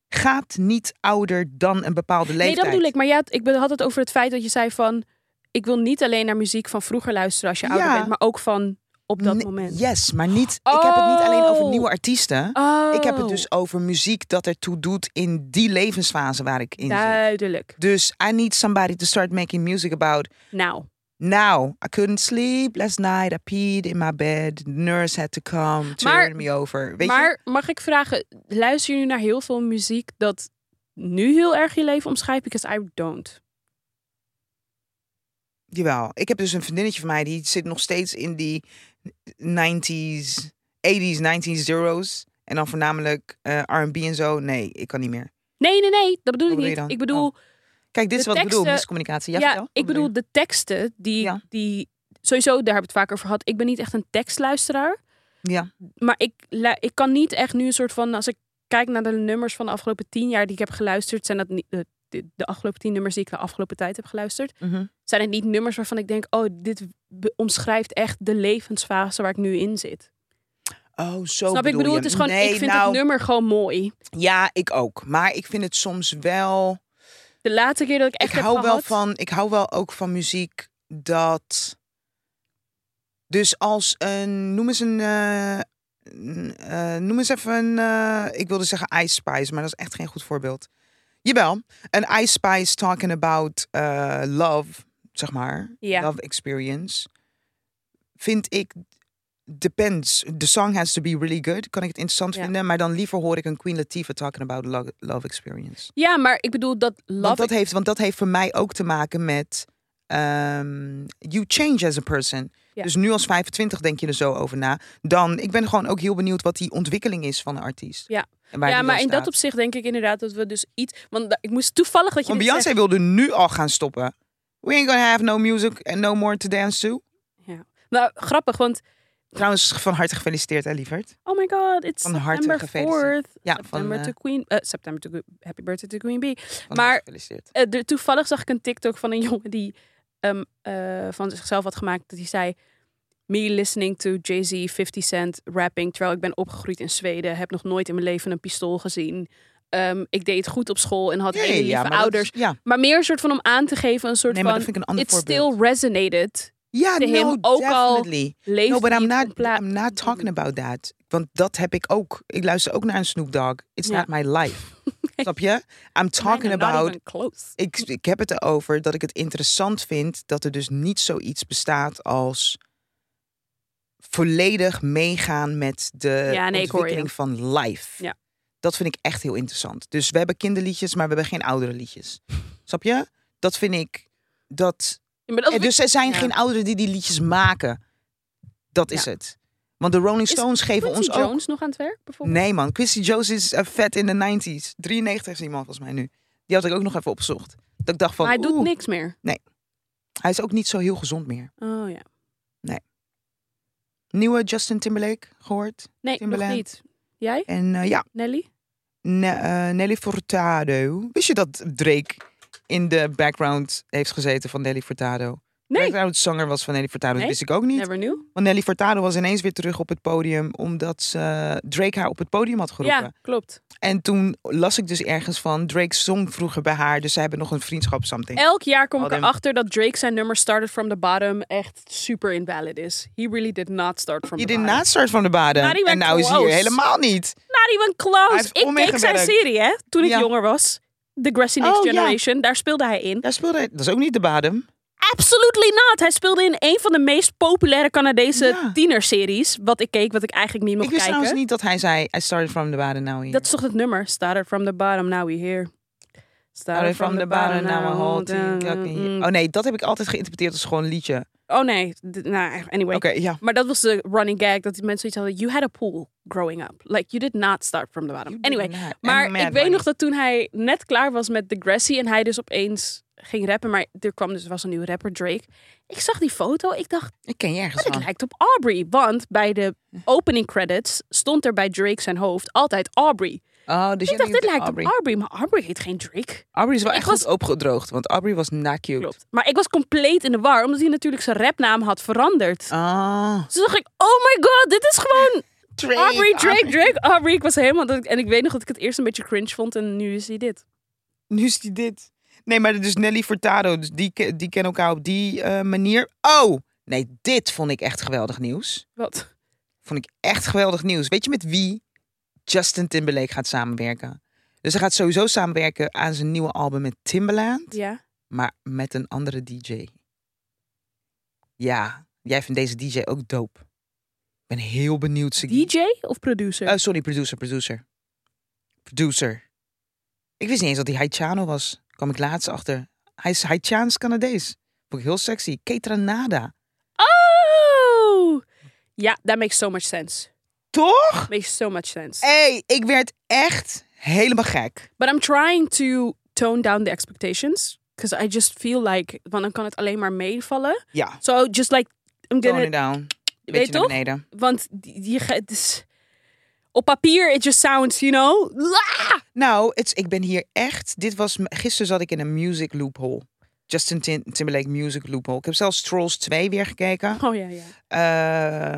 A: gaat niet ouder dan een bepaalde
B: nee,
A: leeftijd.
B: dat bedoel ik. Maar ja, ik be- had het over het feit dat je zei van, ik wil niet alleen naar muziek van vroeger luisteren als je ouder
A: Ja.
B: bent, maar ook van op dat
A: Nee,
B: moment.
A: Yes, maar niet. Ik heb het niet alleen over
B: Oh.
A: nieuwe artiesten.
B: Oh,
A: Ik heb het dus over muziek dat ertoe doet in die levensfase waar ik in zit.
B: duidelijk.
A: Dus I need somebody to start making music about
B: Nou,
A: now. I couldn't sleep last night. I peed in my bed. The nurse had to come, turn
B: Maar-
A: me over. Weet je?
B: maar mag ik vragen, luister je nu naar heel veel muziek dat nu heel erg je leven omschrijft? Because I don't.
A: Jawel. Ik heb dus een vriendinnetje van mij die zit nog steeds in die 90s, 80s, 90s, zeros. En dan voornamelijk eh, RB en zo. Nee, ik kan niet meer.
B: Nee, nee, nee, dat bedoel
A: Wat
B: ik
A: bedoel je
B: niet.
A: dan? Oh.
B: Ik bedoel,
A: Kijk, dit
B: De
A: is wat ik bedoel,
B: teksten-
A: miscommunicatie. Ja,
B: ja,
A: vertel. Wat
B: ik bedoel de teksten die,
A: Ja.
B: die sowieso daar hebben we het vaak over gehad. Ik ben niet echt een tekstluisteraar,
A: je? Ja.
B: maar ik, lu- ik kan niet echt nu een soort van als ik kijk naar de nummers van de afgelopen tien jaar die ik heb geluisterd, zijn dat niet de, de, de afgelopen tien nummers die ik de afgelopen tijd heb geluisterd,
A: mhm.
B: zijn het niet nummers waarvan ik denk, oh, dit be- omschrijft echt de levensfase waar ik nu in zit.
A: Oh, zo
B: Snap
A: bedoel
B: ik bedoel,
A: je
B: het is
A: hem.
B: gewoon,
A: nee,
B: ik vind
A: nou,
B: het nummer gewoon mooi.
A: Ja, ik ook. Maar ik vind het soms wel...
B: De laatste keer dat ik echt
A: ik
B: heb
A: hou wel
B: gehad-
A: van... Ik hou wel ook van muziek dat... Dus als een... Noem eens een... eh, een, eh, noem eens even een... eh, ik wilde zeggen Ice Spice, maar dat is echt geen goed voorbeeld. Jawel. Een Ice Spice talking about eh, love, zeg maar.
B: Ja.
A: Love experience. Vind ik... Depends. The song has to be really good. Kan ik het interessant
B: Ja.
A: vinden. Maar dan liever hoor ik een Queen Latifah talking about lo- love experience.
B: Ja, maar ik bedoel dat love.
A: Want dat, heeft, want dat heeft voor mij ook te maken met ehm, you change as a person.
B: Ja.
A: Dus nu als 25 denk je er zo over na. Dan, ik ben gewoon ook heel benieuwd wat die ontwikkeling is van een artiest.
B: Ja.
A: En waar
B: ja,
A: die
B: maar in
A: dan
B: dat
A: staat.
B: opzicht denk ik inderdaad dat we dus iets. Want da- ik moest toevallig dat je.
A: Want
B: dit zegt.
A: Beyoncé wilde nu al gaan stoppen. We ain't gonna have no music and no more to dance to.
B: Nou, grappig, want
A: Trouwens, van harte gefeliciteerd, hè, lieverd.
B: oh my god, it's
A: Van harte
B: September
A: gefeliciteerd.
B: 4th.
A: Ja, van,
B: September
A: eh,
B: to Queen. eh, September to Queen- Happy Birthday to Queen Bee.
A: van
B: maar-
A: harte gefeliciteerd.
B: Eh, de- toevallig zag ik een TikTok van een [laughs] jongen die ehm, eh, van zichzelf had gemaakt dat hij zei. Me listening to Jay-Z 50 Cent rapping terwijl ik ben opgegroeid in Zweden. Heb nog nooit in mijn leven een pistool gezien. Ehm, ik deed het goed op school en had
A: Nee,
B: hele lieve
A: maar dat is-
B: ouders.
A: ja,
B: Maar meer een soort van om aan te geven, een soort
A: nee, maar dat
B: van...
A: vind ik een ander
B: It
A: voorbeeld.
B: still resonated.
A: ja,
B: to him
A: no,
B: ook al
A: definitely.
B: Leefde
A: No, but I'm
B: niet
A: not,
B: op pla-
A: I'm not talking about that. Want dat heb ik ook. Ik luister ook naar een Snoop Dogg. It's
B: Ja.
A: not my
B: [laughs]
A: life. Snap je? I'm talking
B: Bijna, not
A: about...
B: even close.
A: Ik, ik heb het erover dat ik het interessant vind... dat er dus niet zoiets bestaat als... volledig meegaan met de
B: Ja, nee, ik hoor je.
A: ontwikkeling van life.
B: Ja.
A: Dat vind ik echt heel interessant. Dus we hebben kinderliedjes, maar we hebben geen oudere
B: [laughs]
A: liedjes. Snap je? Dat vind ik... Dat,
B: Ja, maar dat
A: eh,
B: vind
A: dus er zijn
B: ja.
A: geen ouderen die die liedjes maken. Dat is
B: Ja.
A: het. Want de Rolling
B: Is
A: Stones
B: ik
A: geven
B: Quincy
A: ons
B: Jones nog aan het werk
A: ook...
B: bijvoorbeeld?
A: Nee man, Quincy Jones is eh, vet in de 90s. 93 is iemand volgens mij nu. Die had ik ook nog even opgezocht. Dat ik dacht van,
B: Maar hij doet
A: oeh,
B: niks meer.
A: hij is ook niet zo heel gezond meer.
B: Oh ja.
A: Nieuwe Justin Timberlake gehoord.
B: Nee, nog
A: Timberland.
B: niet. Jij,
A: En eh, ja,
B: Nelly?
A: Ne- eh, Nelly Furtado. Wist je dat Drake in de background heeft gezeten van Nelly Furtado?
B: Nee,
A: Dat hij het zanger was van Nelly Furtado,
B: Nee.
A: dat wist ik ook niet.
B: never knew.
A: Want Nelly Furtado was ineens weer terug op het podium, omdat ze, eh, Drake haar op het podium had geroepen.
B: Ja, klopt.
A: En toen las ik dus ergens van, Drake zong vroeger bij haar, dus ze hebben nog een vriendschap something.
B: Elk jaar kom
A: Al
B: ik
A: dem-
B: erachter dat Drake zijn nummer Started From The Bottom echt super invalid is. He really did not start from
A: Die
B: the
A: did
B: bottom.
A: na start van de baden.
B: Nou, die
A: en
B: werd
A: nou is hij hier
B: close.
A: helemaal niet.
B: Not even
A: Hij
B: close.
A: heeft
B: Ik keek zijn
A: onmeegewerkt.
B: serie, hè, toen ik
A: Ja.
B: jonger was. The Grassy Next
A: Oh, ja.
B: Generation, daar speelde hij in.
A: Daar speelde hij, dat is ook niet de Badem.
B: Absolutely not. Hij speelde in een van de meest populaire Canadese
A: Ja.
B: tienerseries. Wat ik keek, wat ik eigenlijk niet mocht
A: Ik wist
B: kijken.
A: trouwens niet dat hij zei, I started from the baden, now here.
B: Dat is toch het nummer? Started from the bottom, now we here.
A: Started from the bottom, now I hold
B: Mm.
A: you, fucking you. Oh nee, dat heb ik altijd geïnterpreteerd als gewoon een liedje.
B: Oh nee, d- nou, anyway.
A: Oké, ja.
B: Maar dat was de running gag dat die mensen iets hadden. You had a pool growing up. Like, you did not start from the bottom.
A: You did
B: Anyway,
A: not. And
B: maar
A: Mad
B: ik weet
A: Money.
B: nog dat toen hij net klaar was met The Grassy en hij dus opeens ging rappen. Maar er kwam dus, er was een nieuwe rapper, Drake. Ik zag die foto, ik dacht,
A: Ik ken je ergens
B: het
A: van.
B: lijkt op Aubrey. Want bij de opening credits stond er bij Drake zijn hoofd altijd Aubrey.
A: Oh, dus
B: Ik
A: jij
B: dacht, dit
A: denkt
B: lijkt
A: Aubrey.
B: op Aubrey, maar Aubrey heet geen Drake.
A: Aubrey is wel
B: Ik
A: echt
B: was-
A: goed opgedroogd, want Aubrey was na cute.
B: Klopt. Maar ik was compleet in de war, omdat hij natuurlijk zijn rapnaam had veranderd.
A: Ah.
B: Dus dacht ik, oh my god, dit is gewoon
A: Drake,
B: Aubrey, Drake, Drake, Aubrey. Ik was helemaal... Dat ik- en ik weet nog dat ik het eerst een beetje cringe vond en nu is hij dit.
A: Nu is die dit. Nee, maar dus Nelly Furtado, dus die, ke- die kennen elkaar op die eh, manier. Oh, nee, dit vond ik echt geweldig nieuws.
B: Wat?
A: Vond ik echt geweldig nieuws. Weet je met wie Justin Timberlake gaat samenwerken? Dus hij gaat sowieso samenwerken aan zijn nieuwe album met Timbaland,
B: Ja.
A: maar met een andere DJ. Ja, jij vindt deze DJ ook dope. Ik ben heel benieuwd. Ziggy.
B: DJ of producer?
A: Oh, sorry, producer, producer. Producer. Ik wist niet eens dat hij Haitiano was. Kwam ik laatst achter. Hij is Haitiaans-Canadees. Vond ik heel sexy. Ketra Nada.
B: oh! Ja, that makes so much sense.
A: Toch?
B: Makes so much sense.
A: Hé, hey, ik werd echt helemaal gek.
B: But I'm trying to tone down the expectations. Because I just feel like... Want dan kan het alleen maar meevallen.
A: Ja,
B: So just like... I'm
A: tone
B: gonna
A: it down.
B: Weet
A: Beetje naar
B: toch?
A: beneden.
B: Want die- je, ge- het is- op papier, it just sounds, you know. Ah! la!
A: Nou, het, ik ben hier echt... Dit was, m- gisteren zat ik in een music loophole. Justin Tim- Timberlake music loophole. Ik heb zelfs Trolls 2 weer
B: [laughs]
A: gekeken.
B: Oh ja, ja.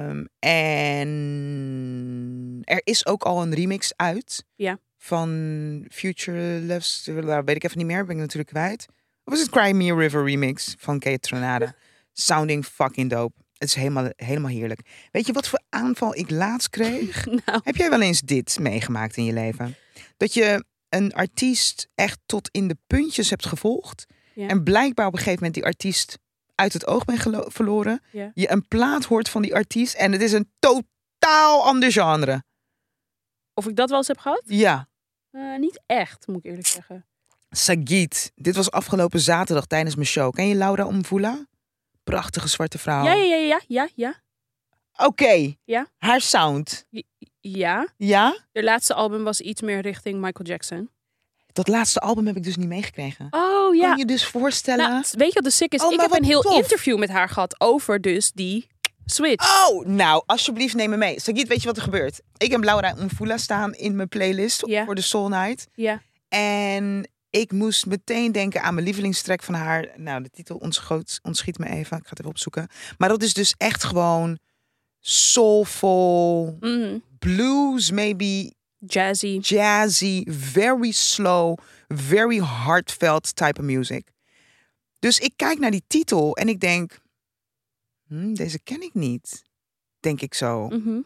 A: Ehm, en er is ook al een remix uit.
B: Ja.
A: Van Future Loves. nou, Weet ik even niet meer. Ben ik natuurlijk kwijt. Of is het Cry Me a River remix van Kate Tronada? Sounding fucking dope. Het is helemaal, helemaal heerlijk. Weet je wat voor aanval ik laatst kreeg?
B: Nou,
A: Heb jij wel eens dit meegemaakt in je leven? Dat je een artiest echt tot in de puntjes hebt gevolgd.
B: Ja.
A: En blijkbaar op een gegeven moment die artiest uit het oog bent gelo- verloren.
B: Ja.
A: Je een plaat hoort van die artiest en het is een totaal ander genre.
B: of ik dat wel eens heb gehad?
A: Ja,
B: Eh, niet echt, moet ik eerlijk zeggen.
A: Sagit. Dit was afgelopen zaterdag tijdens mijn show. Ken je Laura Omvula? Prachtige zwarte vrouw.
B: Ja, ja, ja, ja, ja, ja.
A: Oké.
B: Ja.
A: Haar sound.
B: Ja,
A: Ja?
B: de laatste album was iets meer richting Michael Jackson.
A: Dat laatste album heb ik dus niet meegekregen.
B: Oh
A: Kan
B: ja.
A: je dus voorstellen...
B: Nou, weet je wat de sick is?
A: Oh,
B: ik
A: maar
B: heb een
A: wat
B: heel
A: tof.
B: interview met haar gehad over dus die switch.
A: Oh, nou, alsjeblieft neem me mee. Sagiet, weet je wat er gebeurt? Ik heb Laura Mvula staan in mijn playlist
B: Ja.
A: voor de Soul Night.
B: Ja.
A: En ik moest meteen denken aan mijn lievelingstrek van haar. Nou, de titel ontschoot, ontschiet me even. Ik ga het even opzoeken. Maar dat is dus echt gewoon soulful,
B: Mhm.
A: blues maybe,
B: Jazzy.
A: jazzy, very slow, very heartfelt type of music. Dus ik kijk naar die titel en ik denk, "Hmm, deze ken ik niet. Denk ik zo.
B: Mhm.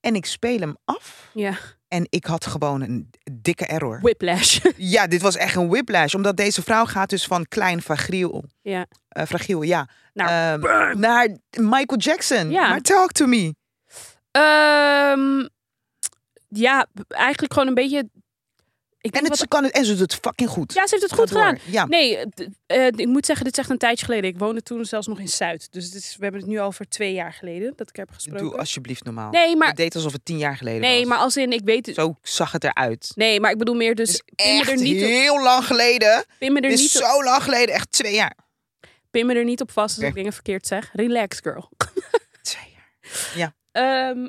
A: En ik speel hem af.
B: Ja.
A: En ik had gewoon een dikke error. [laughs]
B: Whiplash.
A: Ja, dit was echt een whiplash. Omdat deze vrouw gaat dus van klein fragiel.
B: Ja.
A: eh, fragiel, ja.
B: Naar
A: Ehm, naar Michael Jackson.
B: Ja.
A: Maar talk to me.
B: Ehm, ja, b- eigenlijk gewoon een beetje. Ik
A: En,
B: denk
A: het,
B: wat-
A: ze kan het, en ze doet het fucking goed.
B: Ja, ze heeft het goed
A: Ga door.
B: gedaan.
A: Ja.
B: Nee, d- eh, ik moet zeggen, dit is echt een tijdje geleden. Ik woonde toen zelfs nog in Zuid. Dus het is, we hebben het nu al voor twee jaar geleden dat ik heb gesproken.
A: Doe alsjeblieft normaal.
B: Nee, maar-
A: Ik deed alsof het tien jaar geleden
B: nee,
A: was.
B: maar als in, ik weet het.
A: Zo zag het eruit.
B: Nee, maar ik bedoel meer, dus
A: Het is
B: pin me er
A: echt
B: niet op.
A: heel lang geleden.
B: Pin me er
A: Het is
B: niet op.
A: zo lang geleden. Echt twee jaar.
B: Pin me er niet op vast als ik
A: Oké.
B: dingen verkeerd zeg. Relax, girl.
A: Twee jaar.
B: Ehm,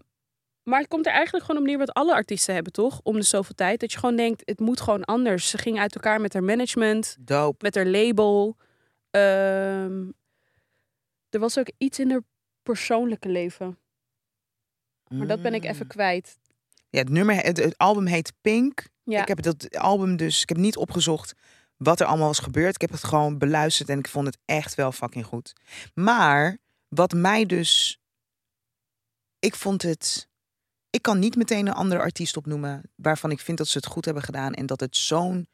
B: maar het komt er eigenlijk gewoon om neer wat alle artiesten hebben, toch? Om de zoveel tijd. Dat je gewoon denkt, het moet gewoon anders. Ze ging uit elkaar met haar management,
A: Dope.
B: met haar label. Ehm, er was ook iets in haar persoonlijke leven. Maar dat ben ik
A: Mm.
B: even kwijt.
A: Ja, het, nummer, het, het album heet Pink.
B: Ja.
A: Ik heb dat album dus... Ik heb niet opgezocht wat er allemaal was gebeurd. Ik heb het gewoon beluisterd en ik vond het echt wel fucking goed. Maar wat mij dus... Ik vond het... Ik kan niet meteen een andere artiest opnoemen waarvan ik vind dat ze het goed hebben gedaan en dat het zo'n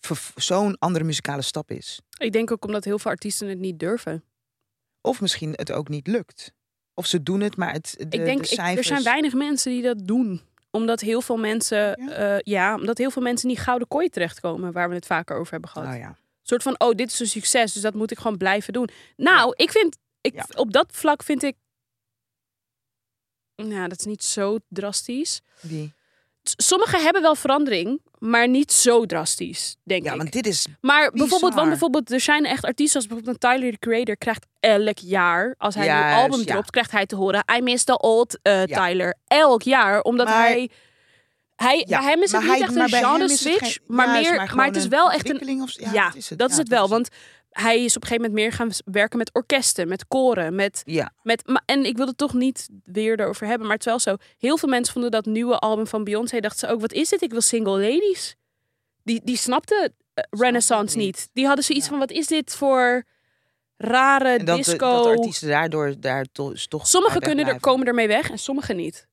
A: ver- zo'n andere muzikale stap is.
B: Ik denk ook omdat heel veel artiesten het niet durven.
A: Of misschien het ook niet lukt. Of ze doen het, maar het, de,
B: ik denk,
A: de
B: ik-
A: cijfers...
B: er zijn weinig mensen die dat doen. Omdat heel veel mensen,
A: Ja?
B: eh, ja, omdat heel veel mensen in die gouden kooi terechtkomen, waar we het vaker over hebben gehad.
A: Oh ja.
B: Een soort van, oh, dit is een succes, dus dat moet ik gewoon blijven doen. Nou, ik vind, ik,
A: Ja.
B: op dat vlak vind ik, nou, dat is niet zo drastisch.
A: Die.
B: S- Sommigen hebben wel verandering, maar niet zo drastisch, denk
A: Ja,
B: ik.
A: want dit is...
B: Maar bijvoorbeeld,
A: Bizar.
B: want bijvoorbeeld, er zijn echt artiesten als bijvoorbeeld een Tyler the Creator krijgt elk jaar, als hij een
A: Juist,
B: nieuw album
A: ja.
B: dropt, krijgt hij te horen, I miss the old eh,
A: Ja.
B: Tyler. Elk jaar, omdat
A: Maar-
B: hij, hij
A: Ja,
B: bij hem is het
A: maar
B: niet
A: hij-
B: echt
A: maar
B: een
A: bij hem
B: genre
A: is het
B: switch,
A: geen-
B: maar,
A: juist, maar
B: meer, maar, het
A: gewoon
B: is
A: een
B: wel echt een,
A: ontwikkeling of- ja,
B: ja,
A: dat is het. Ja,
B: wel, want hij is op een gegeven moment meer gaan s- werken met orkesten, met koren, met,
A: Ja.
B: met maar, en ik wil het toch niet weer erover hebben, maar het is wel zo. Heel veel mensen vonden dat nieuwe album van Beyoncé, dachten ze ook, wat is dit? Ik wil single ladies. Die, die snapten eh, Renaissance
A: niet.
B: niet. Die hadden zoiets
A: Ja.
B: van, wat is dit voor rare
A: En dat, de-
B: disco?
A: dat de artiesten daardoor daar to- is toch...
B: sommigen
A: bij
B: kunnen er,
A: wegblijven.
B: komen ermee weg en sommigen niet.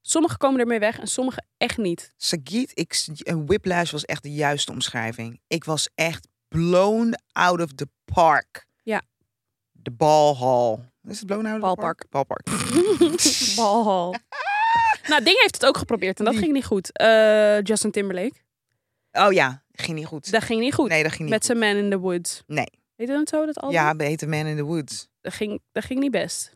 B: Sommigen komen ermee weg en sommigen echt niet.
A: Sagiet, ik, een whiplash was echt de juiste omschrijving. Ik was echt blown out of the park.
B: Ja.
A: De balhal. Is het blown out of the
B: Balpark.
A: park? Balpark.
B: [laughs] Bal. Ah! nou, Ding heeft het ook geprobeerd en dat
A: Wie?
B: ging niet goed. Eh, Justin Timberlake.
A: Oh ja, ging niet goed.
B: Dat ging niet goed.
A: Nee, dat ging niet
B: Met Oh. zijn Man in the Woods.
A: Nee.
B: Heet dat zo, dat
A: goed.
B: album?
A: Ja, beter Man in the Woods.
B: Dat ging, dat ging niet best.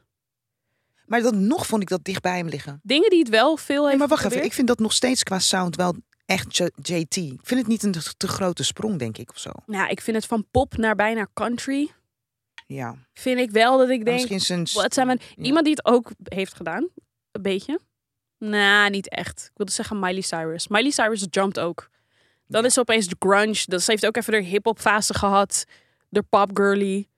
A: Maar dat nog vond ik dat dicht bij hem liggen.
B: Dingen die het wel veel heeft
A: Nee, maar wacht even, ik
B: geprobeerd.
A: vind dat nog steeds qua sound wel echt J- JT. Ik vind het niet een te- te grote sprong, denk ik, of zo.
B: Nou, ik vind het van pop naar bijna country.
A: Ja.
B: Vind ik wel dat ik
A: Maar
B: denk...
A: misschien zijn... st-
B: Wat zijn we...
A: Ja.
B: Iemand die het ook heeft gedaan. Een beetje. Nou, niet echt. Ik wilde zeggen Miley Cyrus. Miley Cyrus jumped ook. Dan
A: Ja.
B: is ze opeens de grunge. Dat, ze heeft ook even de hip-hop fase gehad. De pop girly.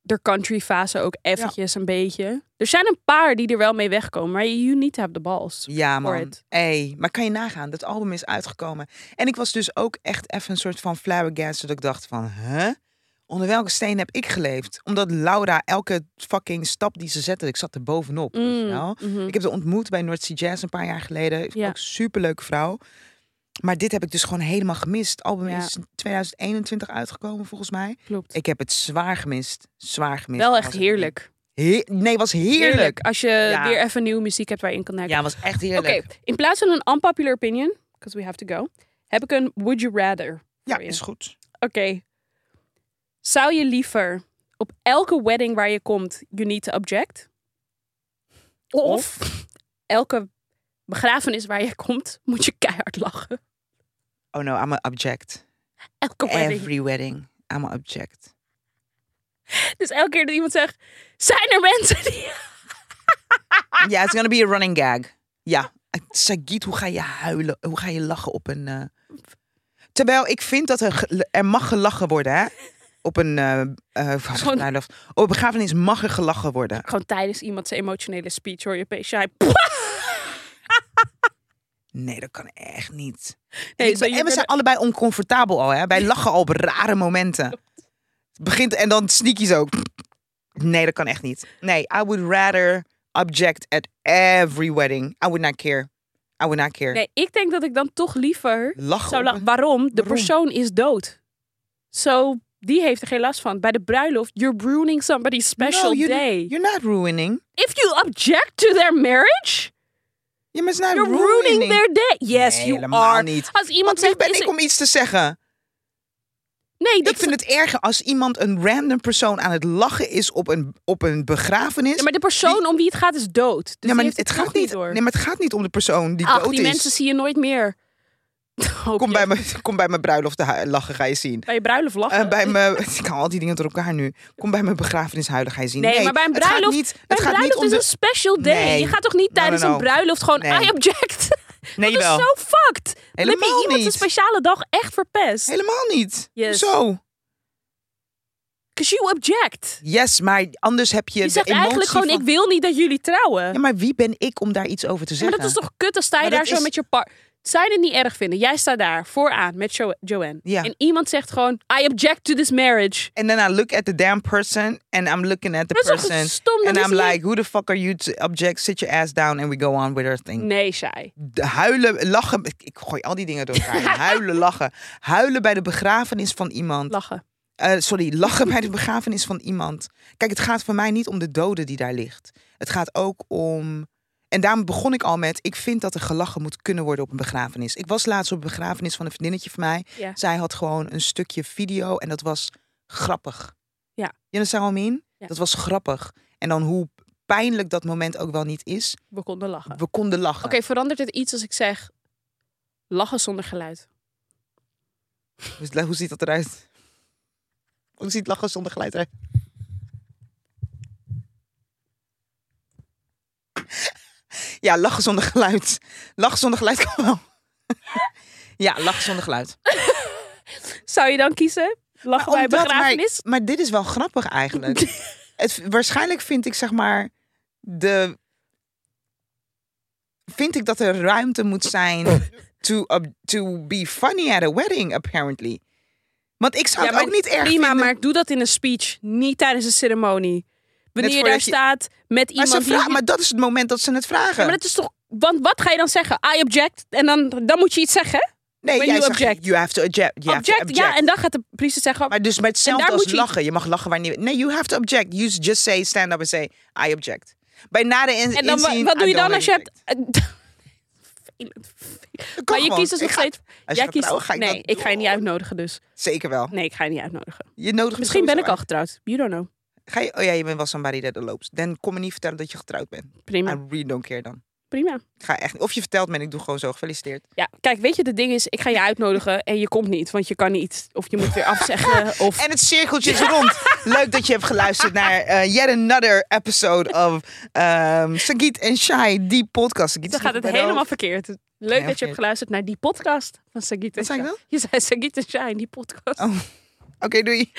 B: De country fase ook eventjes een beetje. Er zijn een paar die er wel mee wegkomen. Maar you need to have the balls.
A: Ja,
B: for
A: man.
B: it.
A: Ey, maar kan je nagaan, dat album is uitgekomen. En ik was dus ook echt even een soort van flabbergasted. Dat ik dacht van, hè? Onder welke steen heb ik geleefd? Omdat Laura elke fucking stap die ze zette, ik zat er bovenop. weet je
B: Mm,
A: wel?
B: mhm.
A: Ik heb ze ontmoet bij North Sea Jazz een paar jaar geleden. Ik vond
B: Ja.
A: Ook superleuke vrouw. Maar dit heb ik dus gewoon helemaal gemist. Het album
B: Ja.
A: is in 2021 uitgekomen volgens mij.
B: Klopt.
A: Ik heb het zwaar gemist. Zwaar gemist.
B: Wel
A: Was
B: echt
A: het-
B: heerlijk.
A: Heer- nee, was heerlijk.
B: Als je
A: Ja.
B: weer even nieuwe muziek hebt waar je in kan denken.
A: Ja, was echt
B: Oké,
A: heerlijk.
B: in plaats van een unpopular opinion, because we have to go, heb ik een would you rather.
A: Ja,
B: voor je.
A: is goed.
B: Oké. Zou je liever op elke wedding waar je komt, you need to object? Of, elke begrafenis waar je komt, moet je keihard lachen?
A: Oh no, I'm an object.
B: Elke wedding.
A: Every wedding, I'm an object.
B: Dus elke keer dat iemand zegt, zijn er mensen die... [laughs]
A: Ja, it's gonna be a running gag. Ja, Sagit, hoe ga je huilen? Hoe ga je lachen op een... eh, Terwijl ik vind dat er, ge- er mag gelachen worden, hè? Op een, eh eh,
B: Gewoon-
A: bruiloft. op een begrafenis mag er gelachen worden.
B: Gewoon tijdens iemand zijn emotionele speech hoor je opeens, jij-
A: Nee, dat kan echt niet. En,
B: Nee,
A: ik
B: zo
A: ben-
B: je
A: en we
B: bent-
A: zijn allebei oncomfortabel al, hè? Wij lachen al op rare
B: [laughs]
A: momenten. Het begint en dan sneakies ook. Nee, dat kan echt niet. Nee, I would rather object at every wedding. I would not care. I would not care.
B: Nee, ik denk dat ik dan toch liever
A: Lachen.
B: zou
A: op
B: lachen.
A: een-
B: Waarom? De
A: Waarom?
B: persoon is dood. Zo, die heeft er geen last van. Bij de bruiloft, you're ruining somebody's special
A: No, you're-
B: day.
A: You're not ruining.
B: If you object to their marriage,
A: Ja, maar het is nou
B: You're ruining their day. Yes,
A: Nee,
B: you
A: helemaal
B: are.
A: niet.
B: Als
A: Want
B: iemand
A: wie
B: zegt...
A: ben
B: is
A: ik om iets te zeggen?
B: Nee, dat
A: Ik vind het erger als iemand een random persoon aan het lachen is op een, op een begrafenis.
B: Ja, maar de persoon om wie het gaat is dood. Dus
A: Nee, maar
B: die heeft
A: het
B: nog
A: gaat niet,
B: door.
A: nee, maar het gaat niet om de persoon die
B: Ach,
A: dood
B: die
A: is.
B: mensen zie je nooit meer. [laughs] Hoop
A: Kom
B: je.
A: bij, mijn, kom bij mijn bruiloft te hu- lachen, ga je zien.
B: Bij je bruiloft lachen.
A: Eh, bij mijn,
B: [laughs]
A: ik haal al die dingen door elkaar nu. Kom bij mijn begrafenis huilen, ga je zien.
B: Nee, maar bij een
A: het gaat
B: bruiloft-
A: niet-
B: Bij
A: het
B: een
A: gaat
B: bruiloft
A: niet om
B: is
A: de...
B: een special day.
A: Nee.
B: Je gaat toch niet
A: No, no,
B: tijdens
A: no.
B: een bruiloft gewoon
A: Nee.
B: I object? [laughs]
A: Nee,
B: dat is
A: wel.
B: zo fucked. Dan heb je
A: Helemaal
B: iemand
A: niet.
B: een speciale dag echt verpest.
A: Helemaal niet.
B: Yes.
A: Zo.
B: Because you object.
A: Yes, maar anders heb je
B: Je
A: de
B: zegt
A: emotie
B: eigenlijk gewoon,
A: van-
B: ik wil niet dat jullie trouwen.
A: Ja, maar wie ben ik om daar iets over te
B: maar
A: zeggen?
B: dat is toch kut, dan sta je
A: Maar
B: daar
A: dat
B: zo
A: is-
B: met je par... Zij het niet erg vinden. Jij staat daar vooraan met jo- Joanne.
A: Ja.
B: En iemand zegt gewoon, I object to this marriage.
A: And then I look at the damn person and I'm looking at the
B: Dat is toch
A: person.
B: stom, dan
A: and
B: is
A: I'm
B: hij-
A: like, who the fuck are you to object? Sit your ass down and we go on with our thing.
B: Nee, zij.
A: De huilen, lachen. Ik, ik gooi al die dingen door
B: [laughs]
A: elkaar. huilen, lachen. Huilen bij de begrafenis van iemand.
B: Lachen.
A: Eh, sorry, lachen bij de begrafenis van iemand. Kijk, het gaat voor mij niet om de dode die daar ligt. Het gaat ook om. En daarom begon ik al met: ik vind dat er gelachen moet kunnen worden op een begrafenis. Ik was laatst op een begrafenis van een vriendinnetje van mij.
B: Ja.
A: Zij had gewoon een stukje video en dat was grappig.
B: Ja.
A: Je zou hem in?
B: Ja.
A: Dat was grappig. En dan hoe pijnlijk dat moment ook wel niet is,
B: We konden lachen.
A: we konden lachen.
B: Oh. Oké, verandert het iets als ik zeg lachen zonder geluid?
A: Hoe, hoe ziet dat eruit? Hoe ziet lachen zonder geluid eruit? Ja, lachen zonder geluid. Lachen zonder geluid kan wel. [laughs] Ja, lachen zonder geluid.
B: Zou je dan kiezen? Lachen bij
A: Omdat- Nou, maar-
B: begrafenis?
A: Maar, dit is wel grappig
B: [laughs]
A: eigenlijk. Het, waarschijnlijk vind ik zeg maar de. Vind ik dat er ruimte moet zijn
B: [laughs]
A: to, ob- to be funny at a wedding, apparently. Want ik zou het ook niet erg
B: prima,
A: vinden.
B: maar doe dat in een speech, niet tijdens een ceremonie. Wanneer je
A: voordat
B: daar
A: je-
B: staat met
A: Maar,
B: iemand
A: ze
B: die...
A: vragen, maar dat is het moment dat ze het vragen.
B: Ja, maar dat is toch... Want wat ga je dan zeggen? I object. En dan, dan moet je iets zeggen.
A: nee,
B: when
A: jij
B: you
A: zegt,
B: object.
A: you have to object. You
B: object,
A: Have to
B: ja. En dan gaat de priester zeggen...
A: maar dus met hetzelfde
B: daar
A: als
B: moet je-
A: lachen. Je mag lachen wanneer... Nee, you have to object. You just say, stand up and say, I object. Bij na de in,
B: en dan, wa-
A: inzien,
B: wat doe
A: I
B: je dan
A: don't
B: als je hebt...
A: object.
B: Vervelend, vervelend.
A: Dat kan
B: Maar je
A: gewoon.
B: kiest dus
A: Ik
B: nog
A: ga-
B: steeds...
A: Als je
B: Jij
A: gaat
B: kiest...
A: trouwen, ga ik
B: nee,
A: dat
B: ik ga je
A: doen.
B: niet uitnodigen dus.
A: Zeker wel.
B: Nee, ik ga je niet uitnodigen.
A: Je nodigt me
B: Misschien ben ik
A: sowieso
B: al getrouwd. You don't know.
A: uit. Ga je, oh ja, je bent wel somebody that loopt. Dan kom me niet vertellen dat je getrouwd bent.
B: Prima,
A: I really don't care dan.
B: prima.
A: Ik Ga echt, niet- of je vertelt me en ik doe gewoon zo. Gefeliciteerd.
B: Ja, kijk, weet je, het ding is, ik
A: [laughs]
B: ga je uitnodigen en je komt niet, want je kan niet. Of je moet weer afzeggen, of...
A: En het cirkeltje is rond. Leuk dat je hebt geluisterd naar eh, yet another episode of ehm Sagit en Shai, die podcast. Sagit is nog
B: Dan gaat het
A: bij de
B: helemaal
A: hoofd.
B: verkeerd. Leuk dat je
A: verkeerd.
B: hebt geluisterd naar die podcast van Sagit en
A: Wat zei ik
B: Shai. Je zei Sagit en Shai in die podcast.
A: Oké, doei.